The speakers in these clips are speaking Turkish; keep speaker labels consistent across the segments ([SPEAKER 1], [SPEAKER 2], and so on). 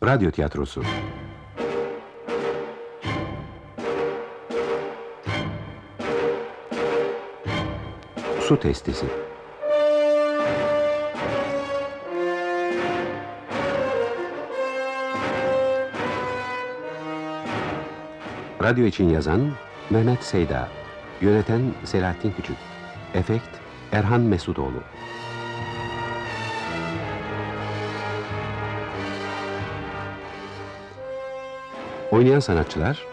[SPEAKER 1] Radyo tiyatrosu. Su testisi. Radyo için yazan Mehmet Seyda. Yöneten Selahattin Küçük. Efekt Erhan Mesutoğlu. Oynayan sanatçılar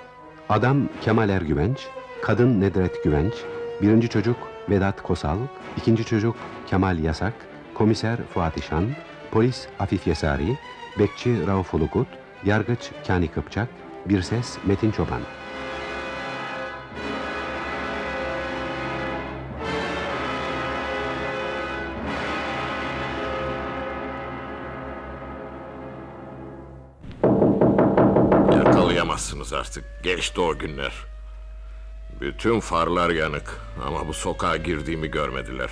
[SPEAKER 1] Adam Kemal Ergüvenç, Kadın Nedret Güvenç, Birinci Çocuk Vedat Kosal, ikinci Çocuk Kemal Yasak, Komiser Fuat İşan, Polis Afif Yesari, Bekçi Rauf Ulukut, Yargıç Kani Kıpçak, Bir Ses Metin Çoban.
[SPEAKER 2] Yakalayamazsınız artık. Geçti o günler. Bütün farlar yanık ama bu sokağa girdiğimi görmediler.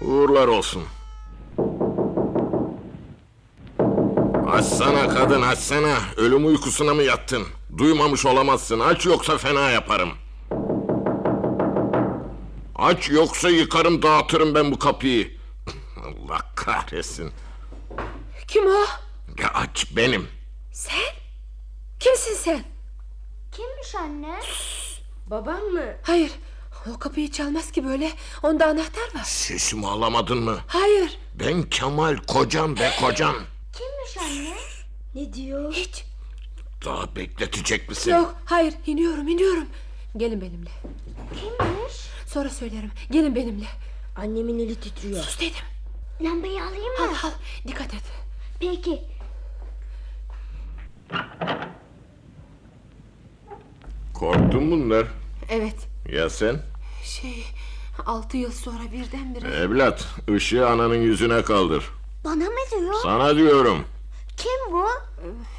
[SPEAKER 2] Uğurlar olsun. Açsana kadın açsana. Ölüm uykusuna mı yattın? Duymamış olamazsın. Aç yoksa fena yaparım. Aç yoksa yıkarım dağıtırım ben bu kapıyı. Allah kahretsin.
[SPEAKER 3] Kim o?
[SPEAKER 2] Ya aç benim.
[SPEAKER 3] Sen? Kimsin sen?
[SPEAKER 4] Kimmiş anne?
[SPEAKER 3] Babam mı? Hayır. O kapıyı çalmaz ki böyle. Onda anahtar var.
[SPEAKER 2] Sesimi alamadın mı?
[SPEAKER 3] Hayır.
[SPEAKER 2] Ben Kemal kocan be kocan.
[SPEAKER 4] Kimmiş anne? Ne diyor?
[SPEAKER 3] Hiç.
[SPEAKER 2] Daha bekletecek misin?
[SPEAKER 3] Yok. Hayır. İniyorum iniyorum. Gelin benimle.
[SPEAKER 4] Kimmiş?
[SPEAKER 3] Sonra söylerim. Gelin benimle.
[SPEAKER 5] Annemin eli titriyor.
[SPEAKER 3] Sus dedim.
[SPEAKER 4] Lambayı alayım
[SPEAKER 3] Al
[SPEAKER 4] mı?
[SPEAKER 3] al. Dikkat et.
[SPEAKER 4] Peki.
[SPEAKER 2] Korktun mu bunlar.
[SPEAKER 3] Evet.
[SPEAKER 2] Ya sen?
[SPEAKER 3] Şey... Altı yıl sonra birdenbire...
[SPEAKER 2] Evlat ışığı ananın yüzüne kaldır.
[SPEAKER 4] Bana mı diyor?
[SPEAKER 2] Sana diyorum.
[SPEAKER 4] Kim bu?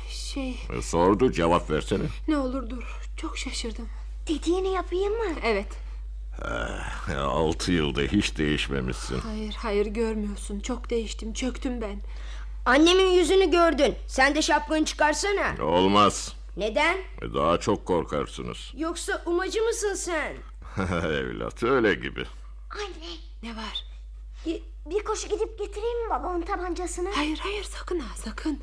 [SPEAKER 3] Şey...
[SPEAKER 2] E, sordu cevap versene.
[SPEAKER 3] Ne olur dur. Çok şaşırdım.
[SPEAKER 4] Dediğini yapayım mı?
[SPEAKER 3] Evet.
[SPEAKER 2] Ya, E, Altı yılda hiç değişmemişsin.
[SPEAKER 3] Hayır hayır görmüyorsun. Çok değiştim. Çöktüm ben.
[SPEAKER 5] Annemin yüzünü gördün. Sen de şapkanı çıkarsana.
[SPEAKER 2] Olmaz.
[SPEAKER 5] Neden?
[SPEAKER 2] E, Daha çok korkarsınız.
[SPEAKER 5] Yoksa umacı mısın sen?
[SPEAKER 2] Evlat öyle gibi.
[SPEAKER 4] Anne
[SPEAKER 3] Ne var?
[SPEAKER 4] bir, bir koşu gidip getireyim mi babamın tabancasını?
[SPEAKER 3] Hayır hayır sakın ha sakın.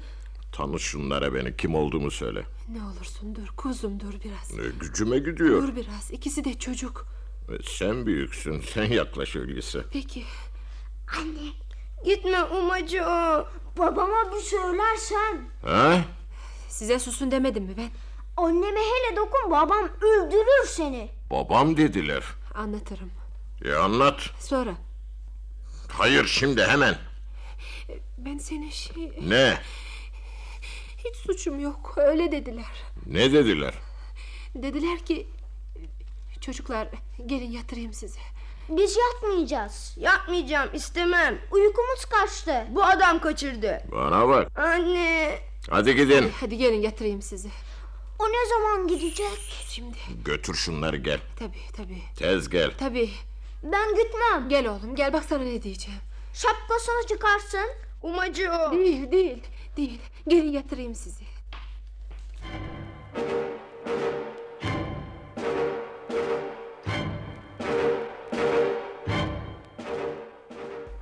[SPEAKER 2] Tanış şunlara beni kim olduğumu söyle.
[SPEAKER 3] Ne olursun dur kuzum dur biraz.
[SPEAKER 2] E, gücüme gidiyor.
[SPEAKER 3] Dur biraz ikisi de çocuk.
[SPEAKER 2] E, Sen büyüksün. Sen yaklaş öyleyse.
[SPEAKER 3] Peki
[SPEAKER 4] Anne
[SPEAKER 5] Gitme umacı o.
[SPEAKER 4] babama bir söylersen
[SPEAKER 2] Ha?
[SPEAKER 3] size susun demedim mi ben?
[SPEAKER 4] anneme hele dokun babam öldürür seni.
[SPEAKER 2] Babam dediler.
[SPEAKER 3] Anlatırım.
[SPEAKER 2] E anlat.
[SPEAKER 3] Sonra
[SPEAKER 2] Hayır şimdi hemen.
[SPEAKER 3] ben senin şey
[SPEAKER 2] Ne?
[SPEAKER 3] hiç suçum yok öyle dediler.
[SPEAKER 2] Ne dediler?
[SPEAKER 3] Dediler ki çocuklar gelin yatırayım sizi.
[SPEAKER 4] Biz yatmayacağız.
[SPEAKER 5] Yapmayacağım istemem.
[SPEAKER 4] Uykumuz kaçtı.
[SPEAKER 5] Bu adam kaçırdı.
[SPEAKER 2] Bana bak.
[SPEAKER 5] Anne.
[SPEAKER 2] Hadi gidin.
[SPEAKER 3] Hadi gelin yatırayım sizi.
[SPEAKER 4] O ne zaman gidecek?
[SPEAKER 3] Şimdi
[SPEAKER 2] Götür şunları gel.
[SPEAKER 3] tabii tabii
[SPEAKER 2] Tez gel.
[SPEAKER 3] tabii.
[SPEAKER 4] Ben gitmem.
[SPEAKER 3] Gel oğlum gel bak sana ne diyeceğim.
[SPEAKER 4] Şapkasını çıkarsın.
[SPEAKER 5] Umacı o.
[SPEAKER 3] Değil değil değil gelin yatırayım sizi.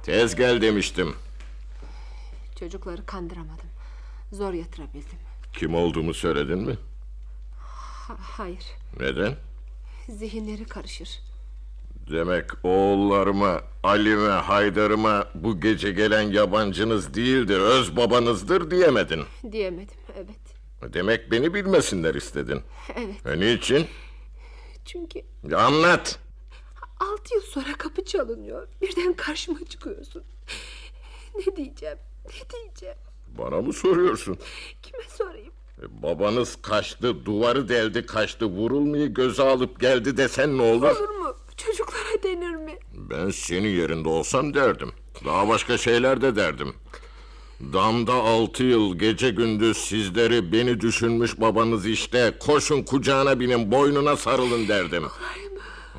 [SPEAKER 2] Tez gel demiştim.
[SPEAKER 3] Çocukları kandıramadım. Zor yatırabildim.
[SPEAKER 2] Kim olduğumu söyledin mi?
[SPEAKER 3] Ha- hayır
[SPEAKER 2] Neden?
[SPEAKER 3] zihinleri karışır.
[SPEAKER 2] Demek oğullarıma, Ali'me, Haydar'ıma bu gece gelen yabancınız değildir, öz babanızdır diyemedin.
[SPEAKER 3] Diyemedim evet.
[SPEAKER 2] Demek beni bilmesinler istedin.
[SPEAKER 3] Evet
[SPEAKER 2] E niçin?
[SPEAKER 3] çünkü
[SPEAKER 2] Anlat.
[SPEAKER 3] altı yıl sonra kapı çalınıyor. Birden karşıma çıkıyorsun. Ne diyeceğim? Ne diyeceğim?
[SPEAKER 2] Bana mı soruyorsun?
[SPEAKER 3] Kime sorayım?
[SPEAKER 2] E, Babanız kaçtı, duvarı deldi, kaçtı, vurulmayı göze alıp geldi desen ne olur?
[SPEAKER 3] Olur mu? Çocuklara denir mi?
[SPEAKER 2] Ben senin yerinde olsam derdim. Daha başka şeyler de derdim. Damda altı yıl gece gündüz sizleri beni düşünmüş babanız işte. Koşun kucağına binin boynuna sarılın derdim.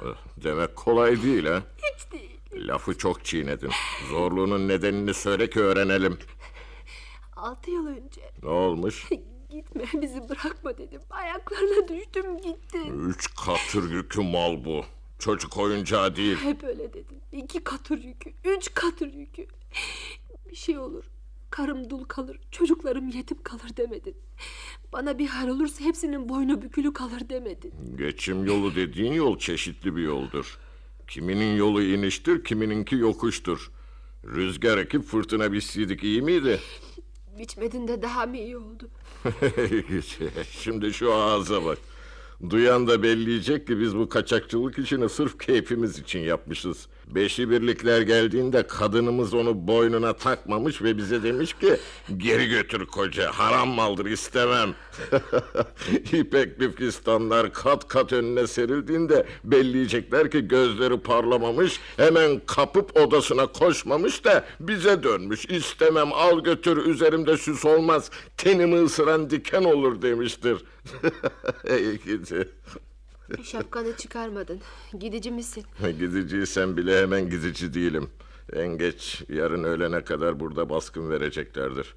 [SPEAKER 2] Eh, Demek kolay değil ha.
[SPEAKER 3] Hiç değil.
[SPEAKER 2] Lafı çok çiğnedin. Zorluğunun nedenini söyle ki öğrenelim.
[SPEAKER 3] Altı yıl önce
[SPEAKER 2] Ne olmuş?
[SPEAKER 3] gitme bizi bırakma dedim. Ayaklarına düştüm gittim.
[SPEAKER 2] Üç katır yükü mal bu. Çocuk oyuncağı değil.
[SPEAKER 3] Hep öyle dedim. İki katır yükü, üç katır yükü. Bir şey olur. Karım dul kalır, çocuklarım yetim kalır demedin. Bana bir hal olursa hepsinin boynu bükülü kalır demedin.
[SPEAKER 2] Geçim yolu dediğin yol çeşitli bir yoldur. Kiminin yolu iniştir, kimininki yokuştur. Rüzgar ekip fırtına bitseydik iyi miydi?
[SPEAKER 3] Biçmedin de daha mı iyi oldu?
[SPEAKER 2] Şimdi şu ağza bak. Duyan da belleyecek ki biz bu kaçakçılık işini sırf keyfimiz için yapmışız. Beşi birlikler geldiğinde kadınımız onu boynuna takmamış ve bize demiş ki... ...geri götür koca, haram maldır istemem. İpek müfkistanlar kat kat önüne serildiğinde... ...belleyecekler ki gözleri parlamamış... ...hemen kapıp odasına koşmamış da bize dönmüş. İstemem al götür üzerimde süs olmaz... ...tenimi ısıran diken olur demiştir. İyi gidi.
[SPEAKER 3] Şapkanı çıkarmadın. Gidici misin?
[SPEAKER 2] Gidiciysen bile hemen gidici değilim. En geç yarın öğlene kadar burada baskın vereceklerdir.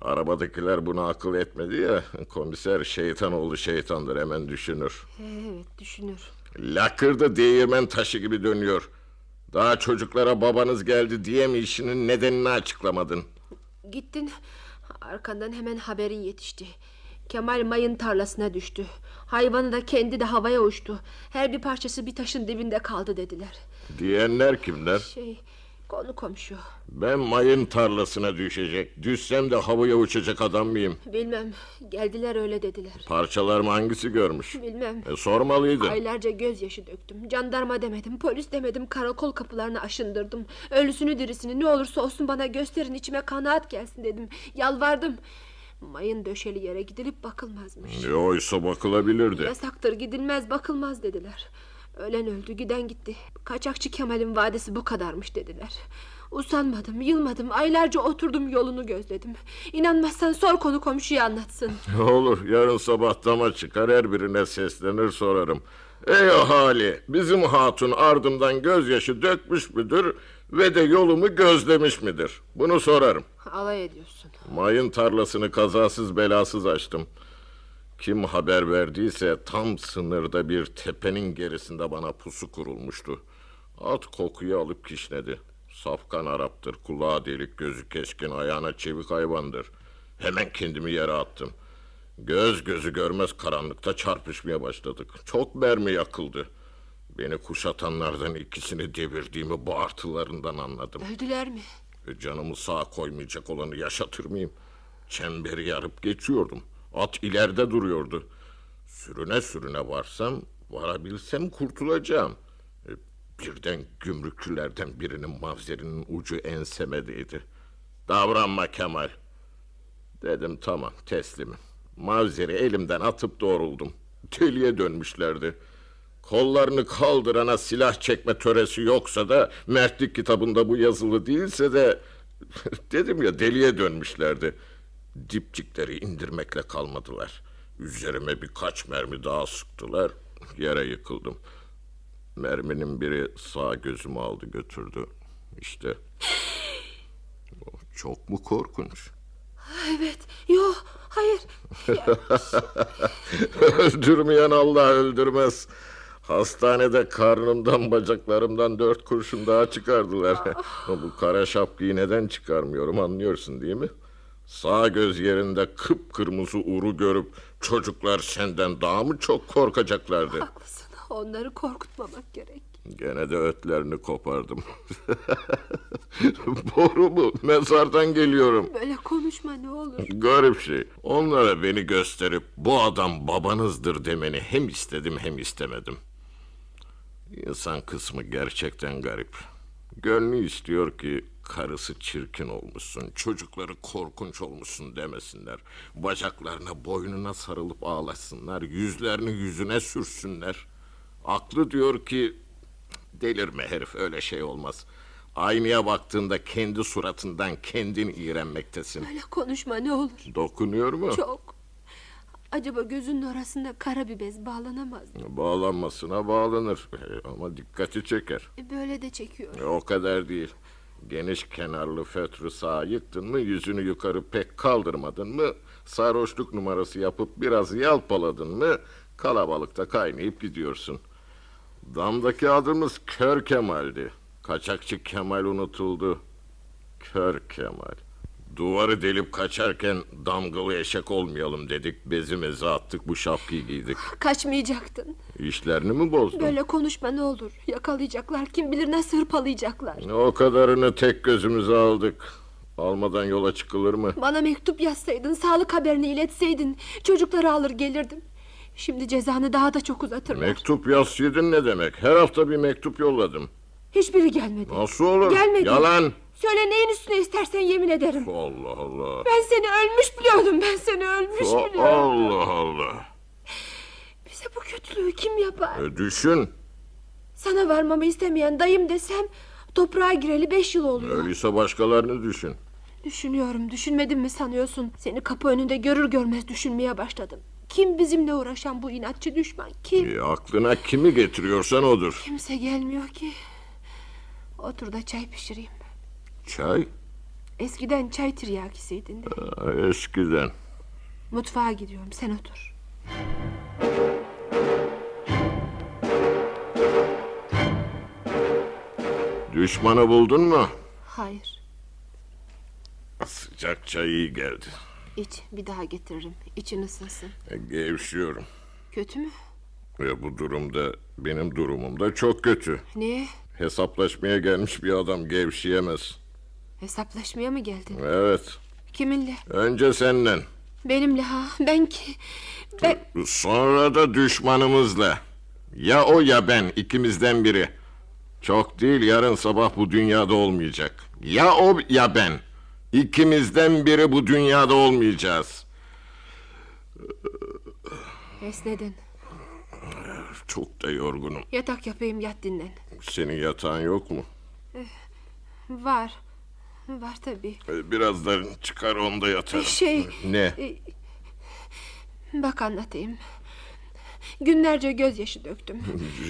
[SPEAKER 2] Arabadakiler buna akıl etmedi ya... ...komiser şeytan oğlu şeytandır hemen düşünür.
[SPEAKER 3] Evet düşünür.
[SPEAKER 2] Lakırdı değirmen taşı gibi dönüyor. Daha çocuklara babanız geldi diye mi işinin nedenini açıklamadın?
[SPEAKER 3] Gittin. Arkandan hemen haberin yetişti. Kemal mayın tarlasına düştü. Hayvanı da kendi de havaya uçtu. Her bir parçası bir taşın dibinde kaldı dediler.
[SPEAKER 2] Diyenler kimler?
[SPEAKER 3] Şey konu komşu.
[SPEAKER 2] Ben mayın tarlasına düşecek. Düşsem de havaya uçacak adam mıyım?
[SPEAKER 3] Bilmem geldiler öyle dediler.
[SPEAKER 2] Parçalar mı hangisi görmüş?
[SPEAKER 3] Bilmem.
[SPEAKER 2] E, sormalıydın.
[SPEAKER 3] Aylarca gözyaşı döktüm. Jandarma demedim, polis demedim, karakol kapılarını aşındırdım. Ölüsünü dirisini ne olursa olsun bana gösterin içime kanaat gelsin dedim. Yalvardım. Mayın döşeli yere gidilip bakılmazmış.
[SPEAKER 2] E, oysa bakılabilirdi.
[SPEAKER 3] Yasaktır gidilmez bakılmaz dediler. Ölen öldü giden gitti. Kaçakçı Kemal'in vadesi bu kadarmış dediler. Usanmadım, yılmadım. Aylarca oturdum yolunu gözledim. İnanmazsan sor konu komşuya anlatsın.
[SPEAKER 2] Olur yarın sabah dama çıkar her birine seslenir sorarım. Ey ahali bizim hatun ardımdan gözyaşı dökmüş müdür ve de yolumu gözlemiş midir? Bunu sorarım.
[SPEAKER 3] Alay ediyorsun.
[SPEAKER 2] Mayın tarlasını kazasız belasız açtım. Kim haber verdiyse tam sınırda bir tepenin gerisinde bana pusu kurulmuştu. At kokuyu alıp kişnedi. Safkan Arap'tır, kulağa delik, gözü keskin, ayağına çevik hayvandır. Hemen kendimi yere attım. Göz gözü görmez karanlıkta çarpışmaya başladık. Çok mermi yakıldı. Beni kuşatanlardan ikisini devirdiğimi bağırtılarından anladım.
[SPEAKER 3] Öldüler mi?
[SPEAKER 2] E, Canımı sağa koymayacak olanı yaşatır mıyım? Çemberi yarıp geçiyordum. At ileride duruyordu. Sürüne sürüne varsam, varabilsem kurtulacağım. E, Birden gümrükçülerden birinin mavzerinin ucu enseme değdi. Davranma Kemal. Dedim tamam teslimim. Mavzeri elimden atıp doğruldum. Deliye dönmüşlerdi. Kollarını kaldırana silah çekme töresi yoksa da mertlik kitabında bu yazılı değilse de dedim ya deliye dönmüşlerdi. Dipçikleri indirmekle kalmadılar. Üzerime birkaç mermi daha sıktılar. Yere yıkıldım. Merminin biri sağ gözümü aldı götürdü. İşte. Çok mu korkunç?
[SPEAKER 3] Evet. Yok. Hayır.
[SPEAKER 2] Öldürmeyen Allah öldürmez. Hastanede karnımdan bacaklarımdan dört kurşun daha çıkardılar. Bu kara şapkayı neden çıkarmıyorum anlıyorsun değil mi? Sağ göz yerinde kıpkırmızı uru görüp çocuklar senden daha mı çok korkacaklardı?
[SPEAKER 3] Haklısın. Onları korkutmamak gerek.
[SPEAKER 2] Gene de ötlerini kopardım. Boru mu? Mezardan geliyorum.
[SPEAKER 3] Böyle konuşma ne olur.
[SPEAKER 2] Garip şey. Onlara beni gösterip bu adam babanızdır demeni hem istedim hem istemedim. İnsan kısmı gerçekten garip. Gönlü istiyor ki karısı çirkin olmuşsun, çocukları korkunç olmuşsun demesinler. Bacaklarına, boynuna sarılıp ağlasınlar, yüzlerini yüzüne sürsünler. Aklı diyor ki delirme herif öyle şey olmaz. Aynaya baktığında kendi suratından kendin iğrenmektesin.
[SPEAKER 3] Böyle konuşma ne olur.
[SPEAKER 2] Dokunuyor mu?
[SPEAKER 3] Çok. Acaba gözünün orasında kara bir bez bağlanamaz mı?
[SPEAKER 2] Bağlanmasına bağlanır E, ama dikkati çeker.
[SPEAKER 3] E, böyle de çekiyor.
[SPEAKER 2] E, o kadar değil. Geniş kenarlı fötrü sağa yıktın mı yüzünü yukarı pek kaldırmadın mı sarhoşluk numarası yapıp biraz yalpaladın mı kalabalıkta kaynayıp gidiyorsun. Damdaki adımız Kör Kemal'di. Kaçakçı Kemal unutuldu. Kör Kemal. Duvarı delip kaçarken damgalı eşek olmayalım dedik. Bezimizi attık bu şapkayı giydik.
[SPEAKER 3] Kaçmayacaktın.
[SPEAKER 2] İşlerini mi bozdun?
[SPEAKER 3] Böyle konuşma ne olur. Yakalayacaklar kim bilir nasıl hırpalayacaklar.
[SPEAKER 2] O kadarını tek gözümüze aldık. Almadan yola çıkılır mı?
[SPEAKER 3] Bana mektup yazsaydın, sağlık haberini iletseydin... ...çocukları alır gelirdim. Şimdi cezanı daha da çok uzatırlar.
[SPEAKER 2] Mektup yazsaydın ne demek? Her hafta bir mektup yolladım.
[SPEAKER 3] Hiçbiri gelmedi.
[SPEAKER 2] Nasıl olur?
[SPEAKER 3] Gelmedi.
[SPEAKER 2] Yalan.
[SPEAKER 3] Söyle neyin üstüne istersen yemin ederim.
[SPEAKER 2] Allah Allah.
[SPEAKER 3] Ben seni ölmüş biliyordum, ben seni ölmüş biliyordum.
[SPEAKER 2] Allah Allah.
[SPEAKER 3] Bize bu kötülüğü kim yapar?
[SPEAKER 2] E, düşün.
[SPEAKER 3] Sana varmamı istemeyen dayım desem... ...toprağa gireli beş yıl oluyor.
[SPEAKER 2] Öyleyse başkalarını düşün.
[SPEAKER 3] Düşünüyorum, düşünmedim mi sanıyorsun? Seni kapı önünde görür görmez düşünmeye başladım. Kim bizimle uğraşan bu inatçı düşman? Kim?
[SPEAKER 2] E, aklına kimi getiriyorsan odur.
[SPEAKER 3] Kimse gelmiyor ki. Otur da çay pişireyim.
[SPEAKER 2] Çay?
[SPEAKER 3] Eskiden çay tiryakisiydin de.
[SPEAKER 2] Ha, Eskiden.
[SPEAKER 3] Mutfağa gidiyorum sen otur.
[SPEAKER 2] Düşmanı buldun mu?
[SPEAKER 3] Hayır
[SPEAKER 2] Sıcak çay iyi geldi.
[SPEAKER 3] iç bir daha getiririm. İçin ısınsın.
[SPEAKER 2] E, gevşiyorum.
[SPEAKER 3] Kötü mü?
[SPEAKER 2] E, bu durumda benim durumumda çok kötü.
[SPEAKER 3] Niye?
[SPEAKER 2] Hesaplaşmaya gelmiş bir adam gevşeyemez.
[SPEAKER 3] Hesaplaşmaya mı geldin?
[SPEAKER 2] Evet.
[SPEAKER 3] Kiminle?
[SPEAKER 2] Önce senden.
[SPEAKER 3] Benimle ha. Ben ki... Ben...
[SPEAKER 2] Sonra da düşmanımızla. Ya o ya ben ikimizden biri. Çok değil yarın sabah bu dünyada olmayacak. Ya o ya ben. İkimizden biri bu dünyada olmayacağız.
[SPEAKER 3] Esnedin.
[SPEAKER 2] Çok da yorgunum.
[SPEAKER 3] Yatak yapayım yat dinlen.
[SPEAKER 2] Senin yatağın yok mu?
[SPEAKER 3] Var. Var tabii.
[SPEAKER 2] Ee, Birazdan çıkar onda yatarım.
[SPEAKER 3] Şey-
[SPEAKER 2] Ne?
[SPEAKER 3] E, Bak anlatayım. Günlerce gözyaşı döktüm.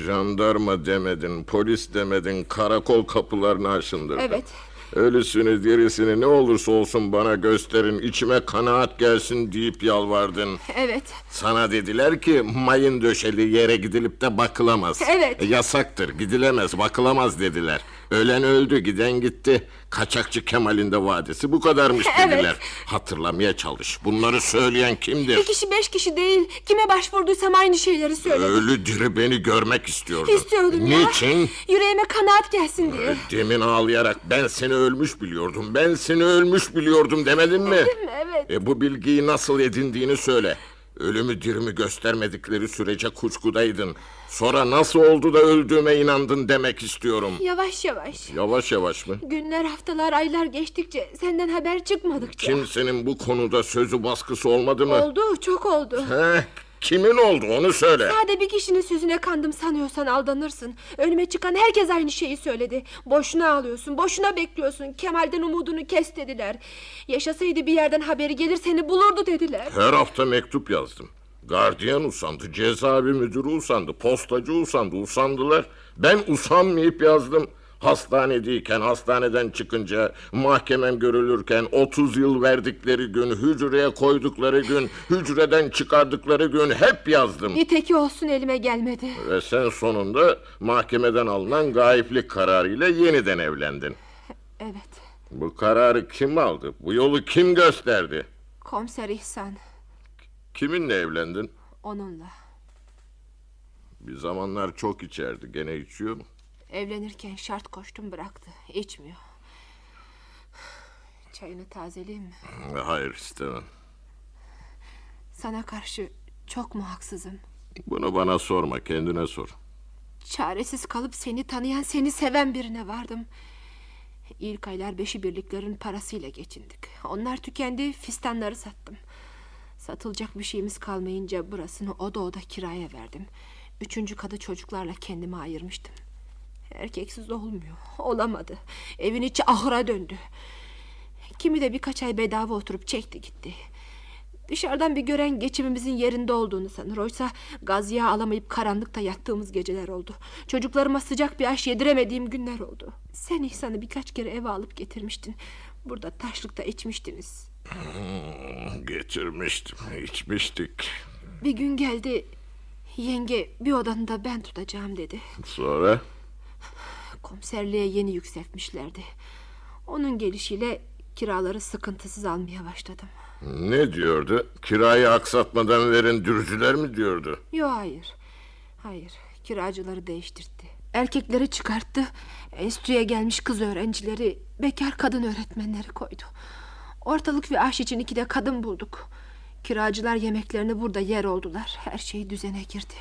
[SPEAKER 2] Jandarma demedin, polis demedin, karakol kapılarını aşındırdın.
[SPEAKER 3] Evet.
[SPEAKER 2] Ölüsünü dirisini ne olursa olsun bana gösterin içime kanaat gelsin deyip yalvardın.
[SPEAKER 3] Evet.
[SPEAKER 2] Sana dediler ki mayın döşeli yere gidilip de bakılamaz.
[SPEAKER 3] Evet.
[SPEAKER 2] E, yasaktır gidilemez bakılamaz dediler. Ölen öldü giden gitti. Kaçakçı Kemal'in de vadesi bu kadarmış
[SPEAKER 3] Evet.
[SPEAKER 2] dediler. Hatırlamaya çalış bunları söyleyen kimdir?
[SPEAKER 3] Bir kişi beş kişi değil. Kime başvurduysam aynı şeyleri söyledim.
[SPEAKER 2] Ölü diri beni görmek istiyordun.
[SPEAKER 3] İstiyordum ya.
[SPEAKER 2] Ee, Niçin?
[SPEAKER 3] Yüreğime kanaat gelsin diye.
[SPEAKER 2] Demin ağlayarak ben seni ölmüş biliyordum. Ben seni ölmüş biliyordum demedin mi?
[SPEAKER 3] Dedim, evet.
[SPEAKER 2] E bu bilgiyi nasıl edindiğini söyle. Ölümü dirimi göstermedikleri sürece kuşkudaydın. Sonra nasıl oldu da öldüğüme inandın demek istiyorum.
[SPEAKER 3] Yavaş yavaş.
[SPEAKER 2] Yavaş yavaş mı?
[SPEAKER 3] Günler, haftalar, aylar geçtikçe senden haber çıkmadıkça.
[SPEAKER 2] Kimsenin bu konuda sözü baskısı olmadı mı?
[SPEAKER 3] Oldu, çok oldu.
[SPEAKER 2] Heh, kimin oldu onu söyle.
[SPEAKER 3] Sade bir kişinin sözüne kandım sanıyorsan aldanırsın. Önüme çıkan herkes aynı şeyi söyledi. Boşuna ağlıyorsun, boşuna bekliyorsun. Kemal'den umudunu kes dediler. Yaşasaydı bir yerden haberi gelir seni bulurdu dediler.
[SPEAKER 2] Her hafta mektup yazdım. Gardiyan usandı, cezaevi müdürü usandı, postacı usandı, usandılar. Ben usanmayıp yazdım. Hastanedeyken, hastaneden çıkınca, mahkemem görülürken, 30 yıl verdikleri gün, hücreye koydukları gün, hücreden çıkardıkları gün hep yazdım.
[SPEAKER 3] Niteki olsun elime gelmedi.
[SPEAKER 2] Ve sen sonunda mahkemeden alınan gayiplik kararıyla yeniden evlendin.
[SPEAKER 3] Evet,
[SPEAKER 2] Bu kararı kim aldı? Bu yolu kim gösterdi?
[SPEAKER 3] komiser İhsan
[SPEAKER 2] Kiminle evlendin?
[SPEAKER 3] onunla.
[SPEAKER 2] Bir zamanlar çok içerdi, gene içiyor mu?
[SPEAKER 3] Evlenirken şart koştum bıraktı. İçmiyor. Çayını tazeleyeyim mi?
[SPEAKER 2] Hayır istemem.
[SPEAKER 3] Sana karşı çok mu haksızım?
[SPEAKER 2] Bunu bana sorma kendine sor.
[SPEAKER 3] Çaresiz kalıp seni tanıyan, seni seven birine vardım. İlk aylar beşi birliklerin parasıyla geçindik. Onlar tükendi, fistanları sattım. Satılacak bir şeyimiz kalmayınca burasını oda oda kiraya verdim. Üçüncü kadı çocuklarla kendime ayırmıştım. Erkeksiz olmuyor, olamadı. Evin içi ahıra döndü. Kimi de birkaç ay bedava oturup çekti gitti. Dışarıdan bir gören geçimimizin yerinde olduğunu sanır. Oysa gaz yağı alamayıp karanlıkta yattığımız geceler oldu. Çocuklarıma sıcak bir aş yediremediğim günler oldu. Sen İhsan'ı birkaç kere eve alıp getirmiştin. Burada taşlıkta içmiştiniz.
[SPEAKER 2] Hmm, Getirmiştim, içmiştik.
[SPEAKER 3] Bir gün geldi yenge bir odanı da ben tutacağım dedi.
[SPEAKER 2] Sonra
[SPEAKER 3] Komiserliğe yeni yükseltmişlerdi. Onun gelişiyle kiraları sıkıntısız almaya başladım.
[SPEAKER 2] ne diyordu? Kirayı aksatmadan verin dürücüler mi diyordu?
[SPEAKER 3] Yo hayır. Hayır. Kiracıları değiştirdi. Erkekleri çıkarttı. Enstitüye gelmiş kız öğrencileri, bekar kadın öğretmenleri koydu. Ortalık ve aş için iki de kadın bulduk. Kiracılar yemeklerini burada yer oldular. Her şey düzene girdi.